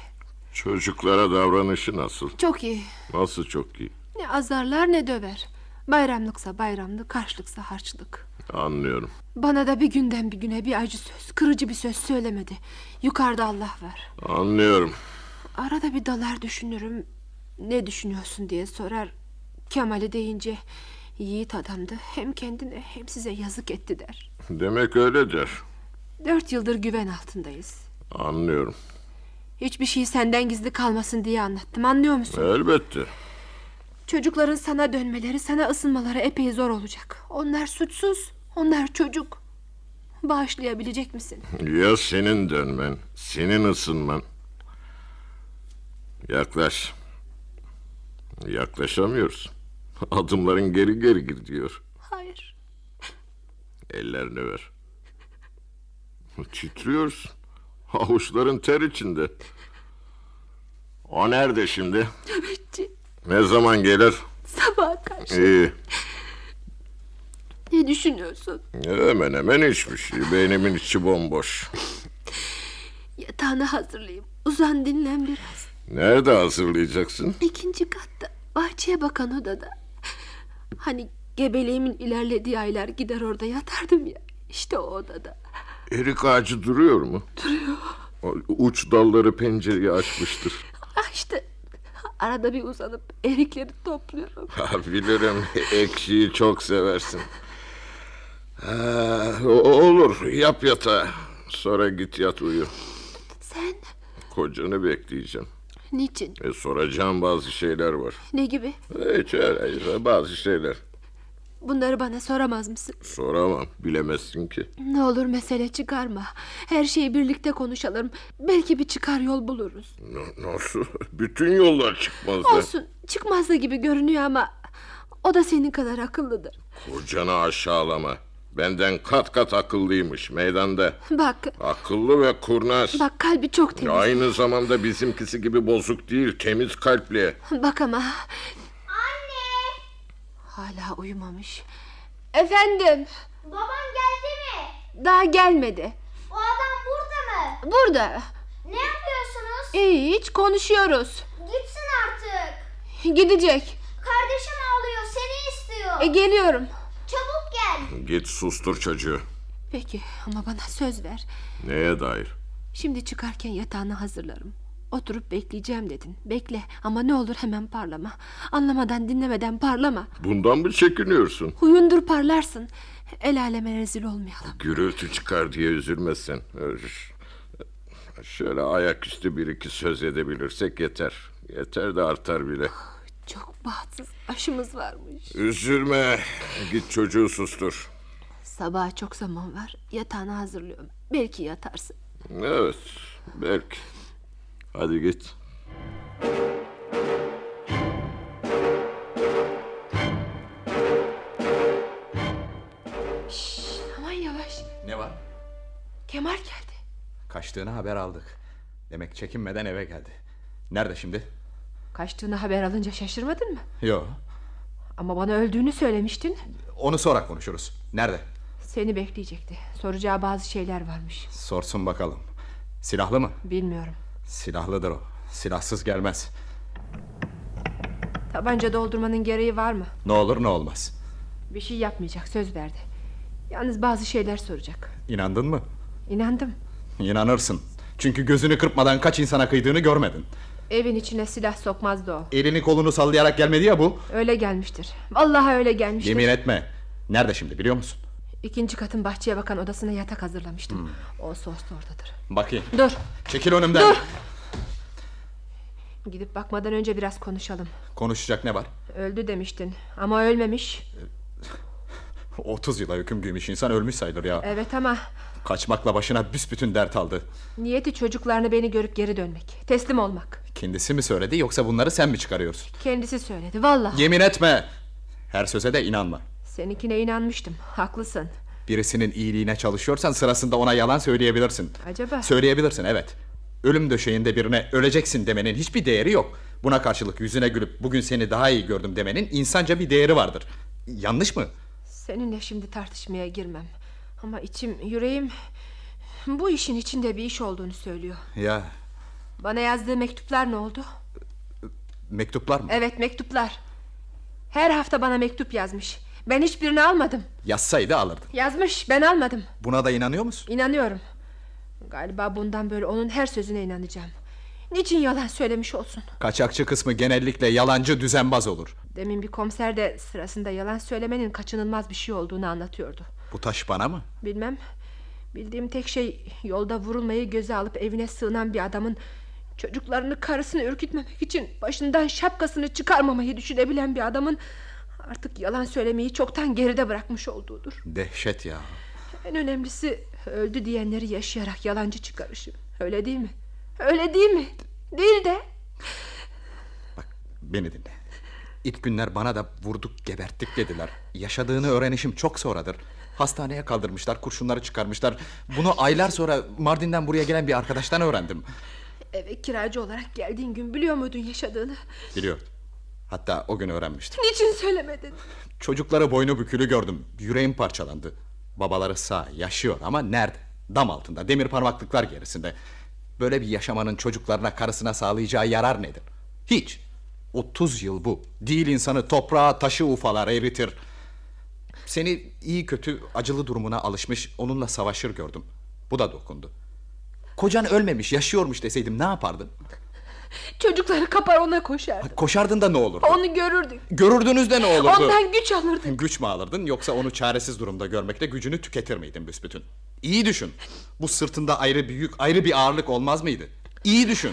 [SPEAKER 2] Çocuklara davranışı nasıl?
[SPEAKER 3] Çok iyi.
[SPEAKER 2] Nasıl çok iyi?
[SPEAKER 3] Ne azarlar ne döver. Bayramlıksa bayramlık, harçlıksa harçlık.
[SPEAKER 2] Anlıyorum.
[SPEAKER 3] Bana da bir günden bir güne bir acı söz, kırıcı bir söz söylemedi. Yukarıda Allah var.
[SPEAKER 2] Anlıyorum.
[SPEAKER 3] Arada bir dalar düşünürüm. Ne düşünüyorsun diye sorar. Kemal'i deyince yiğit adamdı. Hem kendine hem size yazık etti der.
[SPEAKER 2] Demek öyle der.
[SPEAKER 3] Dört yıldır güven altındayız.
[SPEAKER 2] Anlıyorum.
[SPEAKER 3] Hiçbir şey senden gizli kalmasın diye anlattım anlıyor musun?
[SPEAKER 2] Elbette.
[SPEAKER 3] Çocukların sana dönmeleri, sana ısınmaları epey zor olacak. Onlar suçsuz, onlar çocuk. Bağışlayabilecek misin?
[SPEAKER 2] Ya senin dönmen, senin ısınman. Yaklaş. Yaklaşamıyoruz. Adımların geri geri gidiyor.
[SPEAKER 3] Hayır.
[SPEAKER 2] Ellerini ver. Titriyorsun. Avuçların ter içinde. O nerede şimdi?
[SPEAKER 3] Nöbetçi
[SPEAKER 2] Ne zaman gelir?
[SPEAKER 3] sabaha karşı
[SPEAKER 2] İyi.
[SPEAKER 3] ne düşünüyorsun?
[SPEAKER 2] Hemen hemen hiçbir şey. Beynimin içi bomboş.
[SPEAKER 3] Yatağını hazırlayayım. Uzan dinlen biraz.
[SPEAKER 2] Nerede hazırlayacaksın?
[SPEAKER 3] İkinci katta bahçeye bakan odada. Hani gebeliğimin ilerlediği aylar gider orada yatardım ya. İşte o odada.
[SPEAKER 2] Erik ağacı duruyor mu? Duruyor. Uç dalları pencereyi açmıştır.
[SPEAKER 3] İşte Ah, arada bir uzanıp erikleri topluyorum.
[SPEAKER 2] Ha, Bilirim ekşiyi çok seversin. Ha, o- olur yap yatağı. Sonra git yat uyu.
[SPEAKER 3] Sen
[SPEAKER 2] Kocanı bekleyeceğim.
[SPEAKER 3] niçin?
[SPEAKER 2] E, soracağım bazı şeyler var.
[SPEAKER 3] Ne gibi?
[SPEAKER 2] E, Hiç öyle öyle, bazı şeyler.
[SPEAKER 3] Bunları bana soramaz mısın?
[SPEAKER 2] Soramam bilemezsin ki.
[SPEAKER 3] Ne olur mesele çıkarma. Her şeyi birlikte konuşalım. Belki bir çıkar yol buluruz.
[SPEAKER 2] N- nasıl? Bütün yollar çıkmaz da.
[SPEAKER 3] Olsun çıkmaz da gibi görünüyor ama o da senin kadar akıllıdır.
[SPEAKER 2] Kocanı aşağılama. Benden kat kat akıllıymış meydanda.
[SPEAKER 3] Bak
[SPEAKER 2] Akıllı ve kurnaz.
[SPEAKER 3] bak kalbi çok temiz.
[SPEAKER 2] Aynı zamanda bizimkisi gibi bozuk değil, temiz kalpli.
[SPEAKER 3] Bak ama
[SPEAKER 4] Anne!
[SPEAKER 3] hala uyumamış. Efendim
[SPEAKER 4] Babam geldi mi?
[SPEAKER 3] daha gelmedi.
[SPEAKER 4] O adam burada mı?
[SPEAKER 3] Burada.
[SPEAKER 4] Ne yapıyorsunuz?
[SPEAKER 3] Hiç konuşuyoruz.
[SPEAKER 4] Gitsin artık.
[SPEAKER 3] Gidecek.
[SPEAKER 4] Kardeşim ağlıyor, seni istiyor.
[SPEAKER 3] E, geliyorum.
[SPEAKER 4] Çabuk gel.
[SPEAKER 2] Git sustur çocuğu.
[SPEAKER 3] Peki ama bana söz ver.
[SPEAKER 2] Neye dair?
[SPEAKER 3] Şimdi çıkarken yatağını hazırlarım. Oturup bekleyeceğim dedin. Bekle ama ne olur hemen parlama. Anlamadan dinlemeden parlama.
[SPEAKER 2] Bundan mı çekiniyorsun?
[SPEAKER 3] Huyundur parlarsın. El aleme rezil olmayalım.
[SPEAKER 2] Gürültü çıkar diye üzülmesin. Öf. Şöyle ayaküstü bir iki söz edebilirsek yeter. Yeter de artar bile.
[SPEAKER 3] Çok bahtsız aşımız varmış.
[SPEAKER 2] Üzülme. Git çocuğu sustur.
[SPEAKER 3] Sabaha çok zaman var. Yatağını hazırlıyorum. Belki yatarsın.
[SPEAKER 2] Evet, belki. Hadi git.
[SPEAKER 3] Aman yavaş.
[SPEAKER 6] Ne var?
[SPEAKER 3] Kemal geldi.
[SPEAKER 6] Kaçtığını haber aldık. Demek çekinmeden eve geldi. Nerede şimdi?
[SPEAKER 3] Kaçtığını haber alınca şaşırmadın mı?
[SPEAKER 6] Yo.
[SPEAKER 3] Ama bana öldüğünü söylemiştin.
[SPEAKER 6] Onu sonra konuşuruz. Nerede?
[SPEAKER 3] Seni bekleyecekti. Soracağı bazı şeyler varmış.
[SPEAKER 6] Sorsun bakalım. Silahlı mı?
[SPEAKER 3] Bilmiyorum.
[SPEAKER 6] Silahlıdır o. Silahsız gelmez.
[SPEAKER 3] Tabanca doldurmanın gereği var mı?
[SPEAKER 6] Ne olur ne olmaz.
[SPEAKER 3] Bir şey yapmayacak söz verdi. Yalnız bazı şeyler soracak.
[SPEAKER 6] İnandın mı?
[SPEAKER 3] İnandım.
[SPEAKER 6] İnanırsın. Çünkü gözünü kırpmadan kaç insana kıydığını görmedin.
[SPEAKER 3] Evin içine silah sokmazdı o.
[SPEAKER 6] Elini kolunu sallayarak gelmedi ya bu.
[SPEAKER 3] Öyle gelmiştir. Vallahi öyle gelmiştir.
[SPEAKER 6] Yemin etme. Nerede şimdi biliyor musun?
[SPEAKER 3] İkinci katın bahçeye bakan odasına yatak hazırlamıştım. Olsa olsa oradadır.
[SPEAKER 6] Bakayım.
[SPEAKER 3] Dur
[SPEAKER 6] Çekil önümden.
[SPEAKER 3] gidip bakmadan önce biraz konuşalım.
[SPEAKER 6] Konuşacak ne var?
[SPEAKER 3] Öldü demiştin ama ölmemiş.
[SPEAKER 6] 30 yıla hüküm giymiş insan ölmüş sayılır ya.
[SPEAKER 3] Evet ama
[SPEAKER 6] Kaçmakla başına büsbütün dert aldı.
[SPEAKER 3] niyeti çocuklarını beni görüp geri dönmek. Teslim olmak.
[SPEAKER 6] Kendisi mi söyledi yoksa bunları sen mi çıkarıyorsun?
[SPEAKER 3] Kendisi söyledi vallahi.
[SPEAKER 6] Yemin etme. Her söze de inanma.
[SPEAKER 3] Seninkine inanmıştım. Haklısın.
[SPEAKER 6] Birisinin iyiliğine çalışıyorsan sırasında ona yalan söyleyebilirsin.
[SPEAKER 3] Acaba?
[SPEAKER 6] Söyleyebilirsin evet. Ölüm döşeğinde birine öleceksin demenin hiçbir değeri yok. Buna karşılık yüzüne gülüp bugün seni daha iyi gördüm demenin insanca bir değeri vardır. Yanlış mı?
[SPEAKER 3] Seninle şimdi tartışmaya girmem. Ama içim, yüreğim bu işin içinde bir iş olduğunu söylüyor.
[SPEAKER 6] Ya
[SPEAKER 3] Bana yazdığı mektuplar ne oldu?
[SPEAKER 6] mektuplar mı?
[SPEAKER 3] Evet mektuplar. Her hafta bana mektup yazmış. Ben hiçbirini almadım.
[SPEAKER 6] Yazsaydı alırdın.
[SPEAKER 3] Yazmış ben almadım.
[SPEAKER 6] Buna da inanıyor musun?
[SPEAKER 3] İnanıyorum. Galiba bundan böyle onun her sözüne inanacağım. Niçin yalan söylemiş olsun?
[SPEAKER 6] Kaçakçı kısmı genellikle yalancı düzenbaz olur.
[SPEAKER 3] Demin bir komiser de sırasında yalan söylemenin kaçınılmaz bir şey olduğunu anlatıyordu.
[SPEAKER 6] Bu taş bana mı?
[SPEAKER 3] Bilmem. Bildiğim tek şey yolda vurulmayı göze alıp evine sığınan bir adamın çocuklarını karısını ürkütmemek için başından şapkasını çıkarmamayı düşünebilen bir adamın artık yalan söylemeyi çoktan geride bırakmış olduğudur.
[SPEAKER 6] Dehşet ya.
[SPEAKER 3] En önemlisi öldü diyenleri yaşayarak yalancı çıkarışı. Öyle değil mi? Öyle değil mi? Değil de.
[SPEAKER 6] Beni dinle. İlk günler bana da vurduk geberttik dediler. Yaşadığını öğrenişim çok sonradır. Hastaneye kaldırmışlar, kurşunları çıkarmışlar. Bunu aylar sonra Mardin'den buraya gelen bir arkadaştan öğrendim.
[SPEAKER 3] Eve kiracı olarak geldiğin gün biliyor muydun yaşadığını?
[SPEAKER 6] Biliyordum. Hatta o gün öğrenmiştim.
[SPEAKER 3] Niçin söylemedin?
[SPEAKER 6] Çocukları boynu bükülü gördüm. Yüreğim parçalandı. Babaları sağ, yaşıyor ama nerede? Dam altında, demir parmaklıklar gerisinde. Böyle bir yaşamanın çocuklarına, karısına sağlayacağı yarar nedir? Hiç. 30 yıl bu. Değil insanı toprağa, taşı ufalar eritir. Seni iyi kötü acılı durumuna alışmış, onunla savaşır gördüm. Bu da dokundu. Kocan ölmemiş, yaşıyormuş deseydim ne yapardın?
[SPEAKER 3] Çocukları kapar ona koşardı.
[SPEAKER 6] Koşardın da ne olurdu?
[SPEAKER 3] Onu görürdük.
[SPEAKER 6] Görürdünüz de ne olurdu?
[SPEAKER 3] Ondan güç alırdık.
[SPEAKER 6] Güç mü alırdın yoksa onu çaresiz durumda görmekle gücünü tüketir miydin büsbütün? İyi düşün. Bu sırtında ayrı bir yük, ayrı bir ağırlık olmaz mıydı? İyi düşün.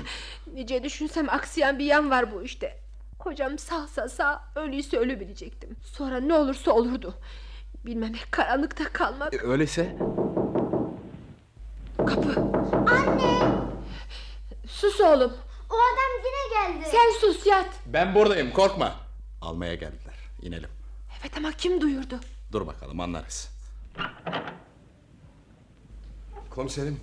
[SPEAKER 3] Nice düşünsem aksayan bir yan var bu işte. Kocam sağsa sağ, ölüyse ölü bilecektim. Sonra ne olursa olurdu. Bilmemek, karanlıkta kalmak.
[SPEAKER 6] E, Öyleyse
[SPEAKER 3] Kapı. Anne! Sus oğlum.
[SPEAKER 4] O adam yine geldi.
[SPEAKER 3] Sen sus yat.
[SPEAKER 6] ben buradayım korkma. Almaya geldiler. İnelim.
[SPEAKER 3] Evet ama kim duyurdu?
[SPEAKER 6] Dur bakalım anlarız.
[SPEAKER 7] Komiserim,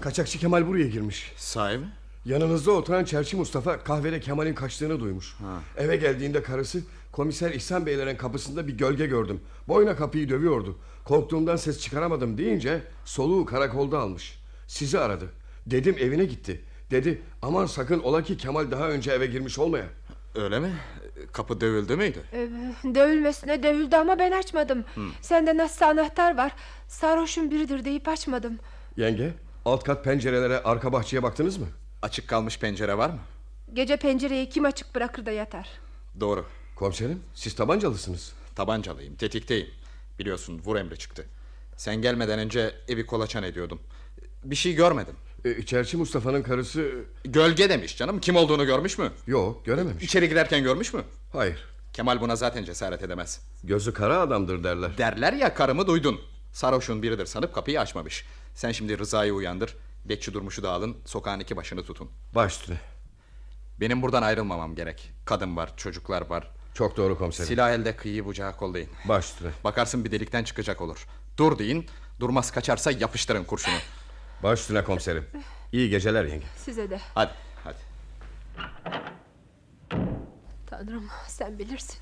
[SPEAKER 7] kaçakçı Kemal buraya girmiş.
[SPEAKER 6] Sahi mi?
[SPEAKER 7] Yanınızda oturan çerçi Mustafa kahvede Kemal'in kaçtığını duymuş. Eve geldiğinde karısı komiser İhsan Beylerin kapısında bir gölge gördüm. Boyuna kapıyı dövüyordu. Korktuğumdan ses çıkaramadım deyince soluğu karakolda almış. Sizi aradı. Dedim evine gitti. Dedi aman sakın ola ki Kemal daha önce eve girmiş olmaya.
[SPEAKER 6] Öyle mi? E, Kapı dövüldü müydü?
[SPEAKER 3] Ee, dövülmesine dövüldü ama ben açmadım. Sende nasıl anahtar var? Sarhoşun biridir deyip açmadım.
[SPEAKER 7] Yenge alt kat pencerelere arka bahçeye baktınız mı?
[SPEAKER 6] Açık kalmış pencere var mı?
[SPEAKER 3] Gece pencereyi kim açık bırakır da yatar?
[SPEAKER 6] Doğru.
[SPEAKER 7] Komiserim siz tabancalısınız.
[SPEAKER 6] Tabancalıyım, tetikteyim. Biliyorsun vur emri çıktı. Sen gelmeden önce evi kolaçan ediyordum. Bir şey görmedim.
[SPEAKER 7] Ee, çerçi Mustafa'nın karısı
[SPEAKER 6] Gölge demiş canım. Kim olduğunu görmüş mü?
[SPEAKER 7] yok görememiş.
[SPEAKER 6] İçeri girerken görmüş mü?
[SPEAKER 7] Hayır
[SPEAKER 6] Kemal buna zaten cesaret edemez.
[SPEAKER 7] Gözü kara adamdır derler.
[SPEAKER 6] Derler ya karımı duydun. Sarhoşun biridir sanıp kapıyı açmamış. Sen şimdi Rıza'yı uyandır. Bekçi Durmuş'u da alın. Sokağın iki başını tutun.
[SPEAKER 7] Baş üstüne.
[SPEAKER 6] Benim buradan ayrılmamam gerek. Kadın var, çocuklar var.
[SPEAKER 7] Çok doğru komiserim.
[SPEAKER 6] Silah elde kıyı bucağı kollayın.
[SPEAKER 7] Baş üstüne.
[SPEAKER 6] Bakarsın bir delikten çıkacak olur. Dur deyin. Durmaz kaçarsa yapıştırın kurşunu.
[SPEAKER 7] Baş üstüne komiserim. İyi geceler yenge.
[SPEAKER 3] Size de.
[SPEAKER 6] Hadi, hadi.
[SPEAKER 3] Tanrım sen bilirsin.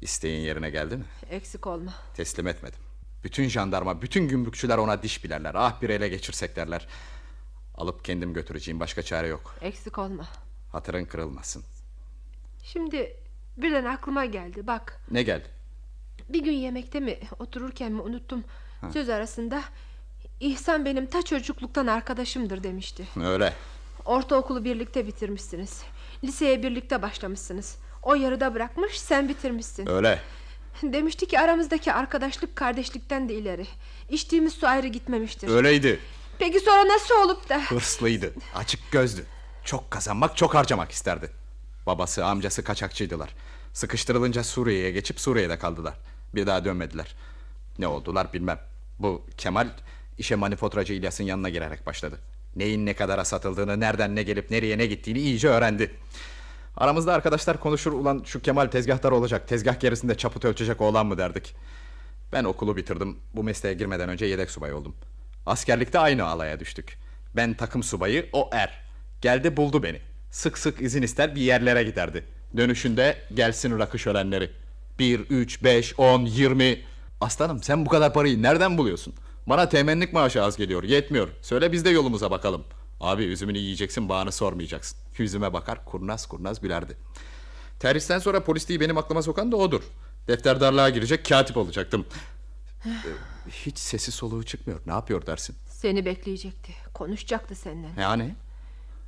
[SPEAKER 6] İsteğin yerine geldi mi?
[SPEAKER 3] Eksik olma.
[SPEAKER 6] Teslim etmedim. Bütün jandarma, bütün gümbükçüler ona diş bilerler. Ah bir ele geçirsek derler. Alıp kendim götüreceğim. Başka çare yok.
[SPEAKER 3] Eksik olma.
[SPEAKER 6] Hatırın kırılmasın.
[SPEAKER 3] Şimdi birden aklıma geldi bak.
[SPEAKER 6] Ne geldi?
[SPEAKER 3] Bir gün yemekte mi otururken mi unuttum. Söz arasında İhsan benim ta çocukluktan arkadaşımdır demişti.
[SPEAKER 6] Öyle.
[SPEAKER 3] Ortaokulu birlikte bitirmişsiniz. Liseye birlikte başlamışsınız. O yarıda bırakmış sen bitirmişsin.
[SPEAKER 6] Öyle.
[SPEAKER 3] Demişti ki aramızdaki arkadaşlık kardeşlikten de ileri. İçtiğimiz su ayrı gitmemiştir.
[SPEAKER 6] Öyleydi.
[SPEAKER 3] Peki sonra nasıl olup da...
[SPEAKER 6] Hırslıydı, açık gözlü. Çok kazanmak, çok harcamak isterdi. Babası, amcası kaçakçıydılar. Sıkıştırılınca Suriye'ye geçip Suriye'de kaldılar. Bir daha dönmediler. Ne oldular bilmem. Bu Kemal işe manifaturacı İlyas'ın yanına girerek başladı. Neyin ne kadara satıldığını, nereden ne gelip nereye ne gittiğini iyice öğrendi. Aramızda arkadaşlar konuşur ulan şu Kemal tezgahtar olacak. Tezgah gerisinde çaput ölçecek oğlan mı derdik. Ben okulu bitirdim. Bu mesleğe girmeden önce yedek subay oldum. Askerlikte aynı alaya düştük. Ben takım subayı, o er. Geldi buldu beni. Sık sık izin ister bir yerlere giderdi. Dönüşünde gelsin rakı şölenleri. 1, 3, 5, 10, 20. Aslanım sen bu kadar parayı nereden buluyorsun? Bana temennik maaşı az geliyor, yetmiyor. Söyle biz de yolumuza bakalım. Abi üzümünü yiyeceksin, bağını sormayacaksın. Yüzüme bakar, kurnaz kurnaz gülerdi. Terhisten sonra polisliği benim aklıma sokan da odur. Defterdarlığa girecek katip olacaktım. Ee, Hiç sesi soluğu çıkmıyor. Ne yapıyor dersin?
[SPEAKER 3] Seni bekleyecekti. Konuşacaktı seninle.
[SPEAKER 6] Yani?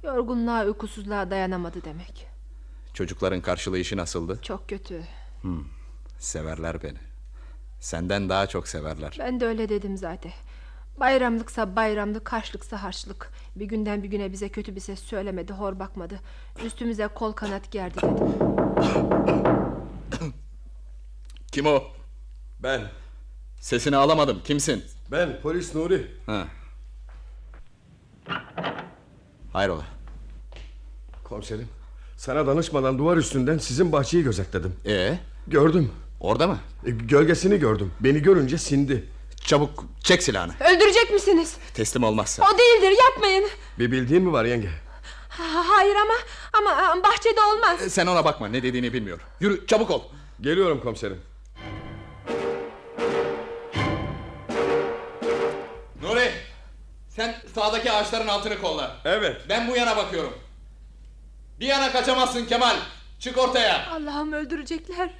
[SPEAKER 3] Yorgunluğa, uykusuzluğa dayanamadı demek.
[SPEAKER 6] Çocukların karşılayışı nasıldı?
[SPEAKER 3] Çok kötü.
[SPEAKER 6] Severler beni. Senden daha çok severler.
[SPEAKER 3] Ben de öyle dedim zaten. Bayramlıksa bayramlık, harçlıksa harçlık. Bir günden bir güne bize kötü bir ses söylemedi, hor bakmadı. Üstümüze kol kanat gerdi dedi.
[SPEAKER 6] Kim o?
[SPEAKER 7] Ben,
[SPEAKER 6] Sesini alamadım. Kimsin?
[SPEAKER 7] ben polis Nuri.
[SPEAKER 6] Ha. Hayrola?
[SPEAKER 7] Komiserim, sana danışmadan duvar üstünden sizin bahçeyi gözetledim.
[SPEAKER 6] Ee,
[SPEAKER 7] Gördüm,
[SPEAKER 6] orada mı?
[SPEAKER 7] e, gölgesini gördüm. Beni görünce sindi.
[SPEAKER 6] Çabuk çek silahını.
[SPEAKER 3] Öldürecek misiniz?
[SPEAKER 6] Teslim olmazsa.
[SPEAKER 3] O değildir, yapmayın.
[SPEAKER 7] Bir bildiğin mi var yenge?
[SPEAKER 3] Ha- Hayır ama ama bahçede olmaz.
[SPEAKER 6] Sen ona bakma. Ne dediğini bilmiyor. Yürü çabuk ol.
[SPEAKER 7] Geliyorum komiserim.
[SPEAKER 6] Nuri! Sen sağdaki ağaçların altını kolla.
[SPEAKER 7] Evet.
[SPEAKER 6] Ben bu yana bakıyorum. Bir yana kaçamazsın Kemal. Çık ortaya.
[SPEAKER 3] Allah'ım öldürecekler.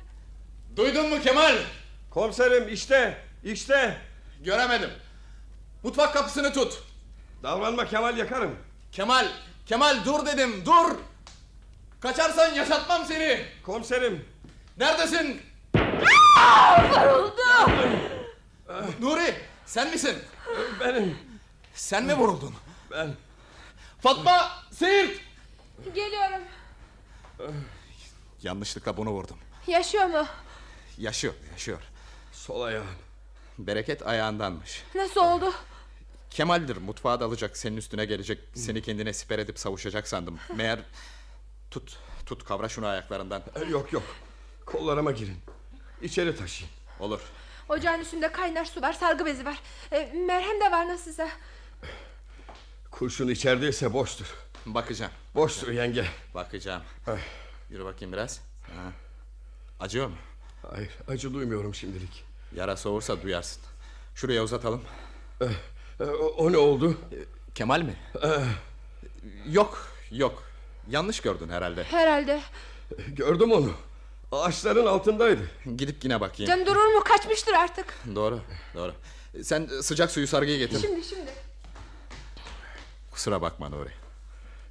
[SPEAKER 6] Duydun mu Kemal?
[SPEAKER 7] Komiserim işte, işte.
[SPEAKER 6] Göremedim. Mutfak kapısını tut.
[SPEAKER 7] Davranma Kemal yakarım.
[SPEAKER 6] Kemal, Kemal dur dedim, dur. Kaçarsan yaşatmam seni.
[SPEAKER 7] Komiserim,
[SPEAKER 6] Neredesin? Vuruldu. Nuri, sen misin?
[SPEAKER 7] benim,
[SPEAKER 6] Sen mi vuruldun?
[SPEAKER 7] ben.
[SPEAKER 6] Fatma, Siirt.
[SPEAKER 3] Geliyorum.
[SPEAKER 6] Yanlışlıkla bunu vurdum.
[SPEAKER 3] Yaşıyor mu?
[SPEAKER 6] Yaşıyor, yaşıyor.
[SPEAKER 7] Sol ayağım.
[SPEAKER 6] Bereket ayağındanmış.
[SPEAKER 3] Nasıl oldu?
[SPEAKER 6] Kemal'dir mutfağa dalacak senin üstüne gelecek Seni kendine siper edip savuşacak sandım Meğer tut tut kavra şunu ayaklarından
[SPEAKER 7] E, Yok yok, kollarıma girin. İçeri taşıyın.
[SPEAKER 6] Olur
[SPEAKER 3] Ocağın üstünde kaynar su var, sargı bezi var. E, merhem de var nasılsa.
[SPEAKER 7] Kurşun içerideyse boştur.
[SPEAKER 6] bakacağım
[SPEAKER 7] Boştur yenge.
[SPEAKER 6] bakacağım Yürü bakayım biraz ha. Acıyor mu?
[SPEAKER 7] Hayır, acı duymuyorum şimdilik.
[SPEAKER 6] Yara soğursa duyarsın Şuraya uzatalım
[SPEAKER 7] E, o, o ne oldu?
[SPEAKER 6] Kemal mi? yok yok Yanlış gördün herhalde
[SPEAKER 3] Herhalde.
[SPEAKER 7] Gördüm onu. Ağaçların altındaydı.
[SPEAKER 6] Gidip yine bakayım
[SPEAKER 3] Can durur mu? Kaçmıştır artık.
[SPEAKER 6] Doğru doğru Sen sıcak suyu sargıya getir
[SPEAKER 3] Şimdi şimdi.
[SPEAKER 6] Kusura bakma Nuri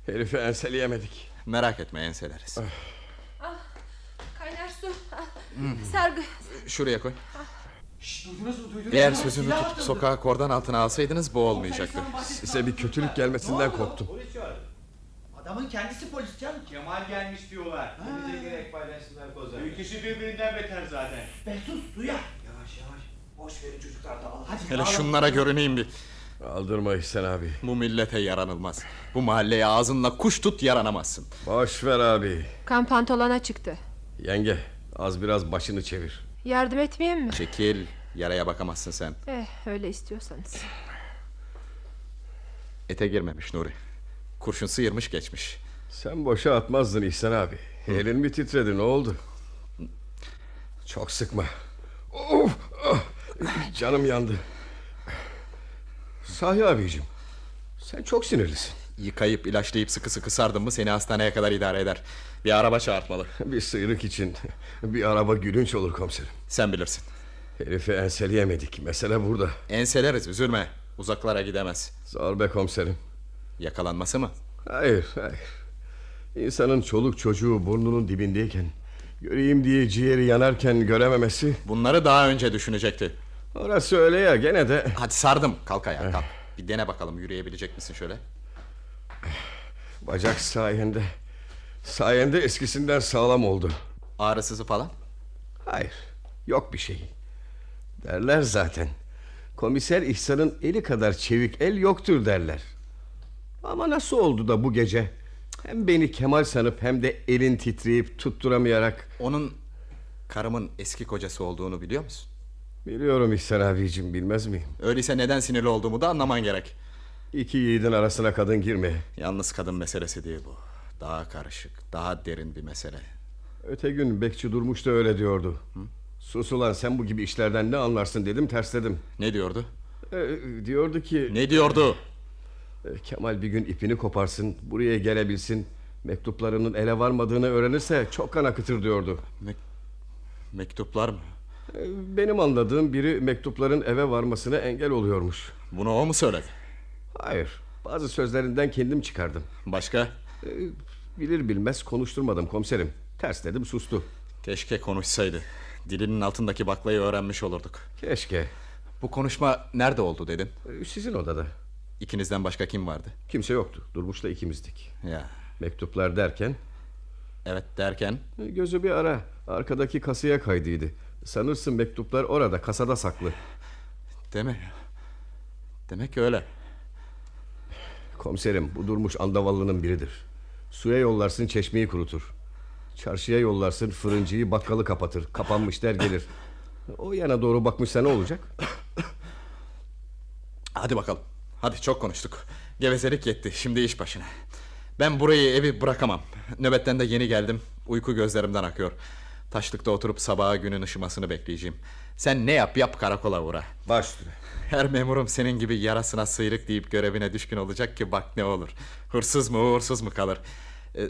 [SPEAKER 7] Herifi enseleyemedik.
[SPEAKER 6] Merak etme enseleriz
[SPEAKER 3] Kaynar su. al. Sargı.
[SPEAKER 6] Şuraya koy. Eğer sözümü tutup sokağa kordan altına alsaydınız bu olmayacaktı.
[SPEAKER 7] Size bir kötülük gelmesinden korktum.
[SPEAKER 8] Polis çağırın. Adamın kendisi polis canım.
[SPEAKER 9] Kemal gelmiş diyorlar. Bize direkt paylaştılar kozanı. İkisi birbirinden beter zaten.
[SPEAKER 8] Ben sus duya.
[SPEAKER 9] Yavaş yavaş. Boş verin çocuklar da al.
[SPEAKER 8] Hadi
[SPEAKER 6] Hele
[SPEAKER 8] ağlama.
[SPEAKER 6] şunlara görüneyim bir.
[SPEAKER 7] Aldırma İhsan abi.
[SPEAKER 6] Bu millete yaranılmaz. Bu mahalleye ağzınla kuş tut yaranamazsın.
[SPEAKER 7] Boş ver abi.
[SPEAKER 3] Kan pantolona çıktı.
[SPEAKER 7] Yenge, az biraz başını çevir.
[SPEAKER 3] Yardım etmeyeyim mi?
[SPEAKER 6] Çekil. Yaraya bakamazsın sen.
[SPEAKER 3] Eh, öyle istiyorsanız.
[SPEAKER 6] Ete girmemiş Nuri. Kurşun sıyırmış geçmiş.
[SPEAKER 7] Sen boşa atmazdın İhsan abi. Elin mi titredi ne oldu? Çok sıkma. Of, ah, canım yandı. Sahi abicim. Sen çok sinirlisin.
[SPEAKER 6] Yıkayıp ilaçlayıp sıkı sıkı sardın mı seni hastaneye kadar idare eder. Bir araba çağırtmalı.
[SPEAKER 7] Bir sıyrık için bir araba gülünç olur komiserim.
[SPEAKER 6] Sen bilirsin.
[SPEAKER 7] Herifi enseleyemedik. Mesele burada.
[SPEAKER 6] Enseleriz üzülme. Uzaklara gidemez.
[SPEAKER 7] Zor be komiserim.
[SPEAKER 6] Yakalanması mı?
[SPEAKER 7] Hayır, hayır. İnsanın çoluk çocuğu burnunun dibindeyken Göreyim diye ciğeri yanarken görememesi.
[SPEAKER 6] Bunları daha önce düşünecekti.
[SPEAKER 7] Orası öyle ya gene de.
[SPEAKER 6] Hadi sardım. Kalk ayağa kalk. Bir dene bakalım yürüyebilecek misin şöyle?
[SPEAKER 7] Bacak sayende. Sayende eskisinden sağlam oldu.
[SPEAKER 6] Ağrısızı falan.
[SPEAKER 7] Hayır. Yok bir şey. Derler zaten. Komiser İhsan'ın eli kadar çevik el yoktur derler. Ama nasıl oldu da bu gece? Hem beni Kemal sanıp hem de elin titreyip tutturamayarak...
[SPEAKER 6] Onun karımın eski kocası olduğunu biliyor musun?
[SPEAKER 7] Biliyorum İhsan abicim bilmez miyim?
[SPEAKER 6] Öyleyse neden sinirli olduğumu da anlaman gerek.
[SPEAKER 7] İki yiğidin arasına kadın girmeye.
[SPEAKER 6] Yalnız kadın meselesi değil bu. Daha karışık, daha derin bir mesele.
[SPEAKER 7] Öte gün bekçi Durmuş da öyle diyordu. Sus ulan sen bu gibi işlerden ne anlarsın dedim tersledim.
[SPEAKER 6] Ne diyordu?
[SPEAKER 7] Ee, diyordu ki...
[SPEAKER 6] Ne diyordu?
[SPEAKER 7] Ee, Kemal bir gün ipini koparsın, buraya gelebilsin. Mektuplarının ele varmadığını öğrenirse çok kan akıtır diyordu.
[SPEAKER 6] Mektuplar mı?
[SPEAKER 7] Ee, Benim anladığım biri mektupların eve varmasına engel oluyormuş.
[SPEAKER 6] Bunu o mu söyledi?
[SPEAKER 7] Hayır, bazı sözlerinden kendim çıkardım.
[SPEAKER 6] Başka?
[SPEAKER 7] Bilir bilmez konuşturmadım komiserim. Ters dedim sustu.
[SPEAKER 6] Keşke konuşsaydı. Dilinin altındaki baklayı öğrenmiş olurduk.
[SPEAKER 7] Keşke.
[SPEAKER 6] Bu konuşma nerede oldu dedin?
[SPEAKER 7] Ee, Sizin odada.
[SPEAKER 6] İkinizden başka kim vardı?
[SPEAKER 7] Kimse yoktu. Durmuş'la ikimizdik.
[SPEAKER 6] Ya.
[SPEAKER 7] Mektuplar derken "Ee,
[SPEAKER 6] Evet derken
[SPEAKER 7] Gözü bir ara. Arkadaki kasaya kaydıydı. Sanırsın mektuplar orada kasada saklı.
[SPEAKER 6] değil mi? Demek öyle.
[SPEAKER 7] Komiserim bu durmuş andavallının biridir. Suya yollarsın çeşmeyi kurutur. Çarşıya yollarsın fırıncıyı bakkalı kapatır. Kapanmış der gelir. O yana doğru bakmışsa ne olacak?
[SPEAKER 6] Hadi bakalım. Hadi çok konuştuk. Gevezelik yetti. Şimdi iş başına. Ben burayı evi bırakamam. Nöbetten de yeni geldim. Uyku gözlerimden akıyor. Taşlıkta oturup sabaha günün ışımasını bekleyeceğim. Sen ne yap yap karakola uğra.
[SPEAKER 7] Baş üstüne.
[SPEAKER 6] Her memurum senin gibi yarasına sıyrık deyip görevine düşkün olacak ki bak ne olur. Hırsız mı uğursuz mu kalır. Ee,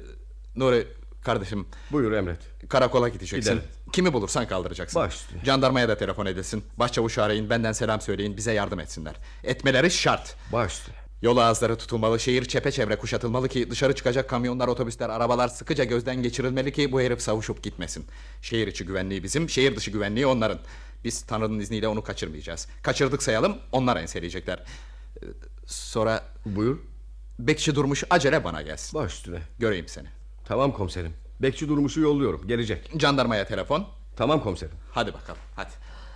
[SPEAKER 6] Nuri kardeşim
[SPEAKER 7] Buyur emret.
[SPEAKER 6] Karakola gideceksin.
[SPEAKER 7] Gidelim.
[SPEAKER 6] Kimi bulursan kaldıracaksın.
[SPEAKER 7] Baş üstüne.
[SPEAKER 6] Jandarmaya da telefon edilsin. Başçavuşu arayın, benden selam söyleyin, bize yardım etsinler. Etmeleri şart.
[SPEAKER 7] Baş üstüne.
[SPEAKER 6] Yol ağızları tutulmalı, şehir çepeçevre kuşatılmalı ki dışarı çıkacak kamyonlar, otobüsler, arabalar sıkıca gözden geçirilmeli ki bu herif savuşup gitmesin. Şehir içi güvenliği bizim, şehir dışı güvenliği onların. Biz Tanrı'nın izniyle onu kaçırmayacağız. Kaçırdık sayalım, onlar enseleyecekler. Ee, Sonra
[SPEAKER 7] Buyur.
[SPEAKER 6] bekçi durmuş acele bana gelsin.
[SPEAKER 7] Baş üstüne.
[SPEAKER 6] Göreyim seni.
[SPEAKER 7] Tamam komiserim. Bekçi durmuşu yolluyorum. Gelecek.
[SPEAKER 6] Jandarmaya telefon,
[SPEAKER 7] Tamam komiserim.
[SPEAKER 6] Hadi bakalım hadi.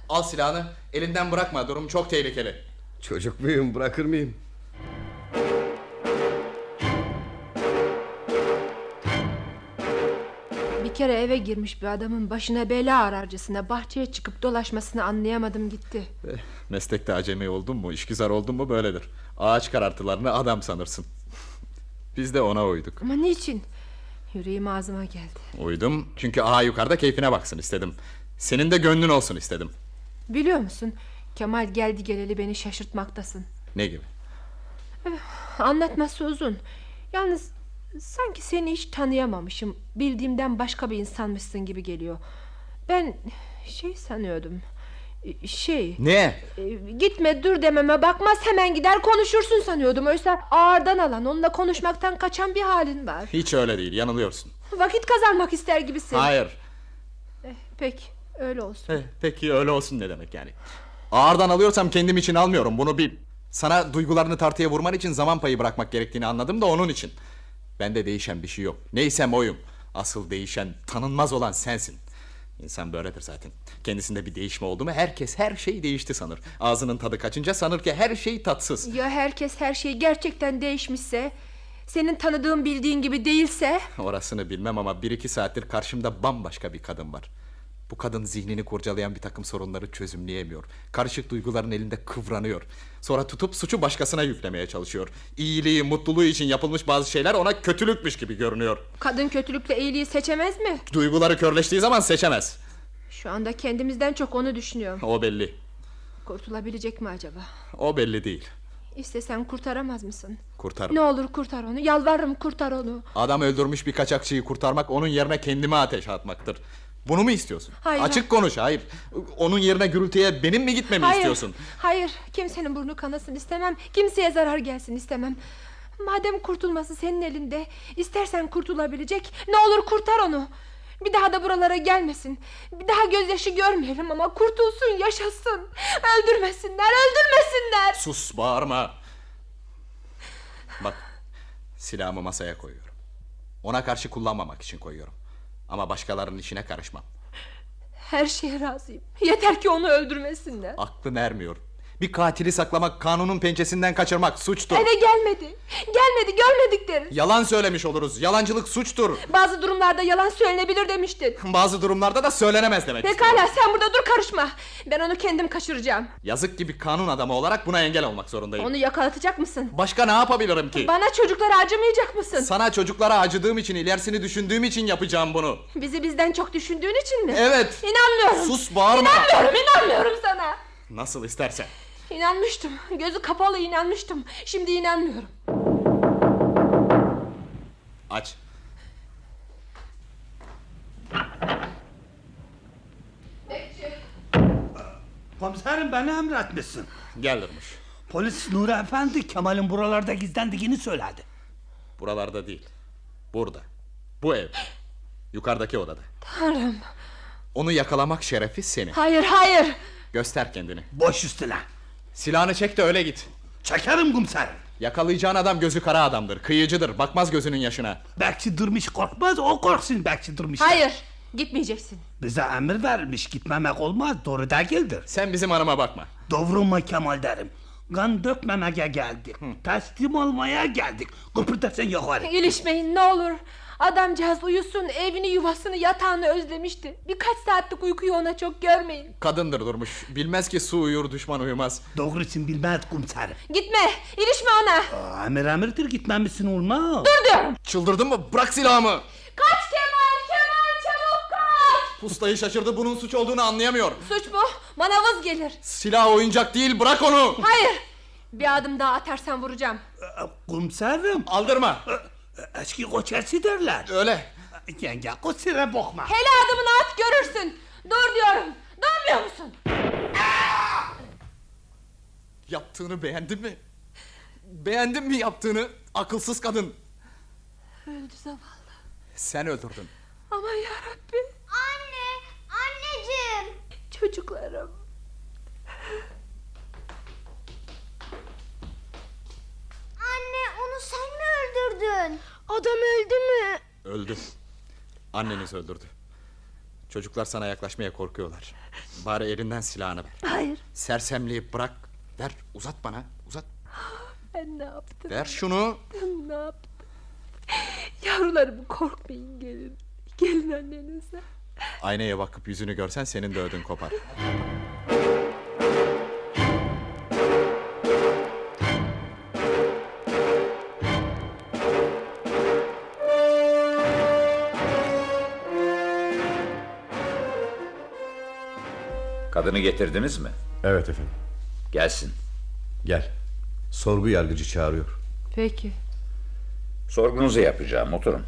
[SPEAKER 6] Al silahını elinden bırakma durum çok tehlikeli.
[SPEAKER 7] Çocuk muyum bırakır mıyım?
[SPEAKER 3] Bir kere eve girmiş bir adamın başına bela ararcasına bahçeye çıkıp dolaşmasını anlayamadım gitti.
[SPEAKER 6] Meslekte acemi oldun mu işgüzar oldun mu böyledir. Ağaç karartılarını adam sanırsın. Biz de ona uyduk.
[SPEAKER 3] Ama niçin? Yüreğim ağzıma geldi.
[SPEAKER 6] Uydum çünkü ağa yukarıda keyfine baksın istedim. Senin de gönlün olsun istedim.
[SPEAKER 3] Biliyor musun? Kemal geldi geleli beni şaşırtmaktasın.
[SPEAKER 6] Ne gibi?
[SPEAKER 3] Anlatması uzun. Yalnız sanki seni hiç tanıyamamışım. Bildiğimden başka bir insanmışsın gibi geliyor. Ben şey sanıyordum. E, Şey...
[SPEAKER 6] Ne?
[SPEAKER 3] e, Gitme dur dememe bakmaz hemen gider konuşursun sanıyordum. Oysa ağırdan alan onunla konuşmaktan kaçan bir halin var.
[SPEAKER 6] Hiç öyle değil yanılıyorsun.
[SPEAKER 3] Vakit kazanmak ister gibisin.
[SPEAKER 6] Hayır.
[SPEAKER 3] Peki öyle olsun.
[SPEAKER 6] Eh, Peki öyle olsun ne demek yani? Ağırdan alıyorsam kendim için almıyorum bunu bil. Sana duygularını tartıya vurman için zaman payı bırakmak gerektiğini anladım da onun için. Bende değişen bir şey yok. Neysem oyum. Asıl değişen, tanınmaz olan sensin. İnsan böyledir zaten. Kendisinde bir değişme oldu mu herkes her şey değişti sanır. Ağzının tadı kaçınca sanır ki her şey tatsız.
[SPEAKER 3] Ya herkes her şey gerçekten değişmişse... ...senin tanıdığın bildiğin gibi değilse...
[SPEAKER 6] Orasını bilmem ama bir iki saattir karşımda bambaşka bir kadın var. Bu kadın zihnini kurcalayan bir takım sorunları çözümleyemiyor. Karışık duyguların elinde kıvranıyor. Sonra tutup suçu başkasına yüklemeye çalışıyor. İyiliği, mutluluğu için yapılmış bazı şeyler ona kötülükmüş gibi görünüyor.
[SPEAKER 3] ...kadın kötülükle iyiliği seçemez mi?
[SPEAKER 6] Duyguları körleştiği zaman seçemez.
[SPEAKER 3] Şu anda kendimizden çok onu düşünüyorum.
[SPEAKER 6] O belli.
[SPEAKER 3] Kurtulabilecek mi acaba?
[SPEAKER 6] O belli değil.
[SPEAKER 3] İstesen kurtaramaz mısın?
[SPEAKER 6] Kurtarım.
[SPEAKER 3] Ne olur kurtar onu. Yalvarırım kurtar onu.
[SPEAKER 6] Adam öldürmüş bir kaçakçıyı kurtarmak onun yerine kendime ateş atmaktır. Bunu mu istiyorsun?
[SPEAKER 3] Hayır.
[SPEAKER 6] Açık konuş, hayır. Onun yerine gürültüye benim mi gitmemi
[SPEAKER 3] hayır.
[SPEAKER 6] istiyorsun?
[SPEAKER 3] Hayır. Kimsenin burnu kanasın istemem. Kimseye zarar gelsin istemem. Madem kurtulması senin elinde, istersen kurtulabilecek. Ne olur kurtar onu. Bir daha da buralara gelmesin. Bir daha gözyaşı görmeyelim ama kurtulsun, yaşasın. Öldürmesinler, öldürmesinler.
[SPEAKER 6] Sus bağırma. Bak silahımı masaya koyuyorum. Ona karşı kullanmamak için koyuyorum. Ama başkalarının işine karışmam.
[SPEAKER 3] Her şeye razıyım. Yeter ki onu öldürmesinler.
[SPEAKER 6] Aklım ermiyor. Bir katili saklamak kanunun pençesinden kaçırmak suçtur.
[SPEAKER 3] Eve gelmedi. Gelmedi, görmedik deriz.
[SPEAKER 6] Yalan söylemiş oluruz. Yalancılık suçtur.
[SPEAKER 3] Bazı durumlarda yalan söylenebilir demiştin.
[SPEAKER 6] Bazı durumlarda da söylenemez demek.
[SPEAKER 3] Pekala sen burada dur karışma. Ben onu kendim kaçıracağım.
[SPEAKER 6] Yazık gibi kanun adamı olarak buna engel olmak zorundayım.
[SPEAKER 3] Onu yakalatacak mısın?
[SPEAKER 6] Başka ne yapabilirim ki?
[SPEAKER 3] Bana çocuklara acımayacak mısın?
[SPEAKER 6] Sana çocuklara acıdığım için, ilerisini düşündüğüm için yapacağım bunu.
[SPEAKER 3] Bizi bizden çok düşündüğün için mi?
[SPEAKER 6] Evet.
[SPEAKER 3] İnanmıyorum.
[SPEAKER 6] Sus bağırma.
[SPEAKER 3] İnanmıyorum, inanmıyorum sana.
[SPEAKER 6] Nasıl istersen.
[SPEAKER 3] İnanmıştım. Gözü kapalı inanmıştım. Şimdi inanmıyorum.
[SPEAKER 6] Aç.
[SPEAKER 10] Komiserim beni emretmişsin.
[SPEAKER 6] Gelirmiş.
[SPEAKER 10] Polis Nuri Efendi Kemal'in buralarda gizlendiğini söyledi.
[SPEAKER 6] Buralarda değil. Burada. Bu ev. Yukarıdaki odada.
[SPEAKER 3] Tanrım.
[SPEAKER 6] Onu yakalamak şerefi senin.
[SPEAKER 3] Hayır, hayır.
[SPEAKER 6] Göster kendini.
[SPEAKER 10] Boş üstüne.
[SPEAKER 6] Silahını çek de öyle git.
[SPEAKER 10] Çekerim kumserim.
[SPEAKER 6] Yakalayacağın adam gözü kara adamdır. Kıyıcıdır. Bakmaz gözünün yaşına.
[SPEAKER 10] Bekçi durmuş korkmaz o korksun bekçi durmuş.
[SPEAKER 3] Hayır. Gitmeyeceksin.
[SPEAKER 10] Bize emir verilmiş gitmemek olmaz doğru değildir.
[SPEAKER 6] Sen bizim hanıma bakma.
[SPEAKER 10] Dovrulma Kemal derim. Kan dökmemeye geldik. Teslim olmaya geldik. Kıpırdasın yukarı.
[SPEAKER 3] İlişmeyin ne olur. Adamcağız uyusun, evini, yuvasını, yatağını özlemişti. Birkaç saatlik uykuyu ona çok görmeyin.
[SPEAKER 6] Kadındır durmuş. Bilmez ki su uyur düşman uyumaz.
[SPEAKER 10] Doğrusun bilmez kumserim.
[SPEAKER 3] Gitme, ilişme ona.
[SPEAKER 10] Aa, Emir emirdir gitmemişsin olmaz.
[SPEAKER 3] Dur diyorum.
[SPEAKER 6] Çıldırdın mı? Bırak silahımı.
[SPEAKER 3] Kaç Kemal, Kemal çabuk kaç.
[SPEAKER 6] Pustayı şaşırdı bunun suç olduğunu anlayamıyor.
[SPEAKER 3] Suç bu, manavız gelir.
[SPEAKER 6] Silah oyuncak değil bırak onu.
[SPEAKER 3] Hayır. Bir adım daha atarsan vuracağım.
[SPEAKER 10] Kumserim.
[SPEAKER 6] Aldırma.
[SPEAKER 10] Eski koçesi derler.
[SPEAKER 6] Öyle.
[SPEAKER 10] Yenge kusura bakma.
[SPEAKER 3] Hele adımını at görürsün. Dur diyorum. Durmuyor musun?
[SPEAKER 6] Yaptığını beğendin mi? Beğendin mi yaptığını? Akılsız kadın.
[SPEAKER 3] Öldü zavallı.
[SPEAKER 6] Sen öldürdün.
[SPEAKER 3] Aman yarabbim.
[SPEAKER 4] Anne, anneciğim.
[SPEAKER 3] Çocuklarım.
[SPEAKER 4] Anne onu sen mi öldürdün?
[SPEAKER 5] Adam öldü mü?
[SPEAKER 6] Öldü. Anneniz öldürdü. Çocuklar sana yaklaşmaya korkuyorlar. Bari elinden silahını ver.
[SPEAKER 3] Hayır.
[SPEAKER 6] Sersemliği bırak. Ver uzat bana. Uzat.
[SPEAKER 3] Ben ne yaptım?
[SPEAKER 6] Ver şunu.
[SPEAKER 3] Ne yaptım? Yavrularım korkmayın gelin. Gelin annenize.
[SPEAKER 6] Aynaya bakıp yüzünü görsen senin de ödün kopar.
[SPEAKER 11] Kadını getirdiniz mi?
[SPEAKER 7] Evet efendim.
[SPEAKER 11] Gelsin.
[SPEAKER 7] Gel. Sorgu yargıcı çağırıyor.
[SPEAKER 3] Peki.
[SPEAKER 11] Sorgunuzu yapacağım. Oturun.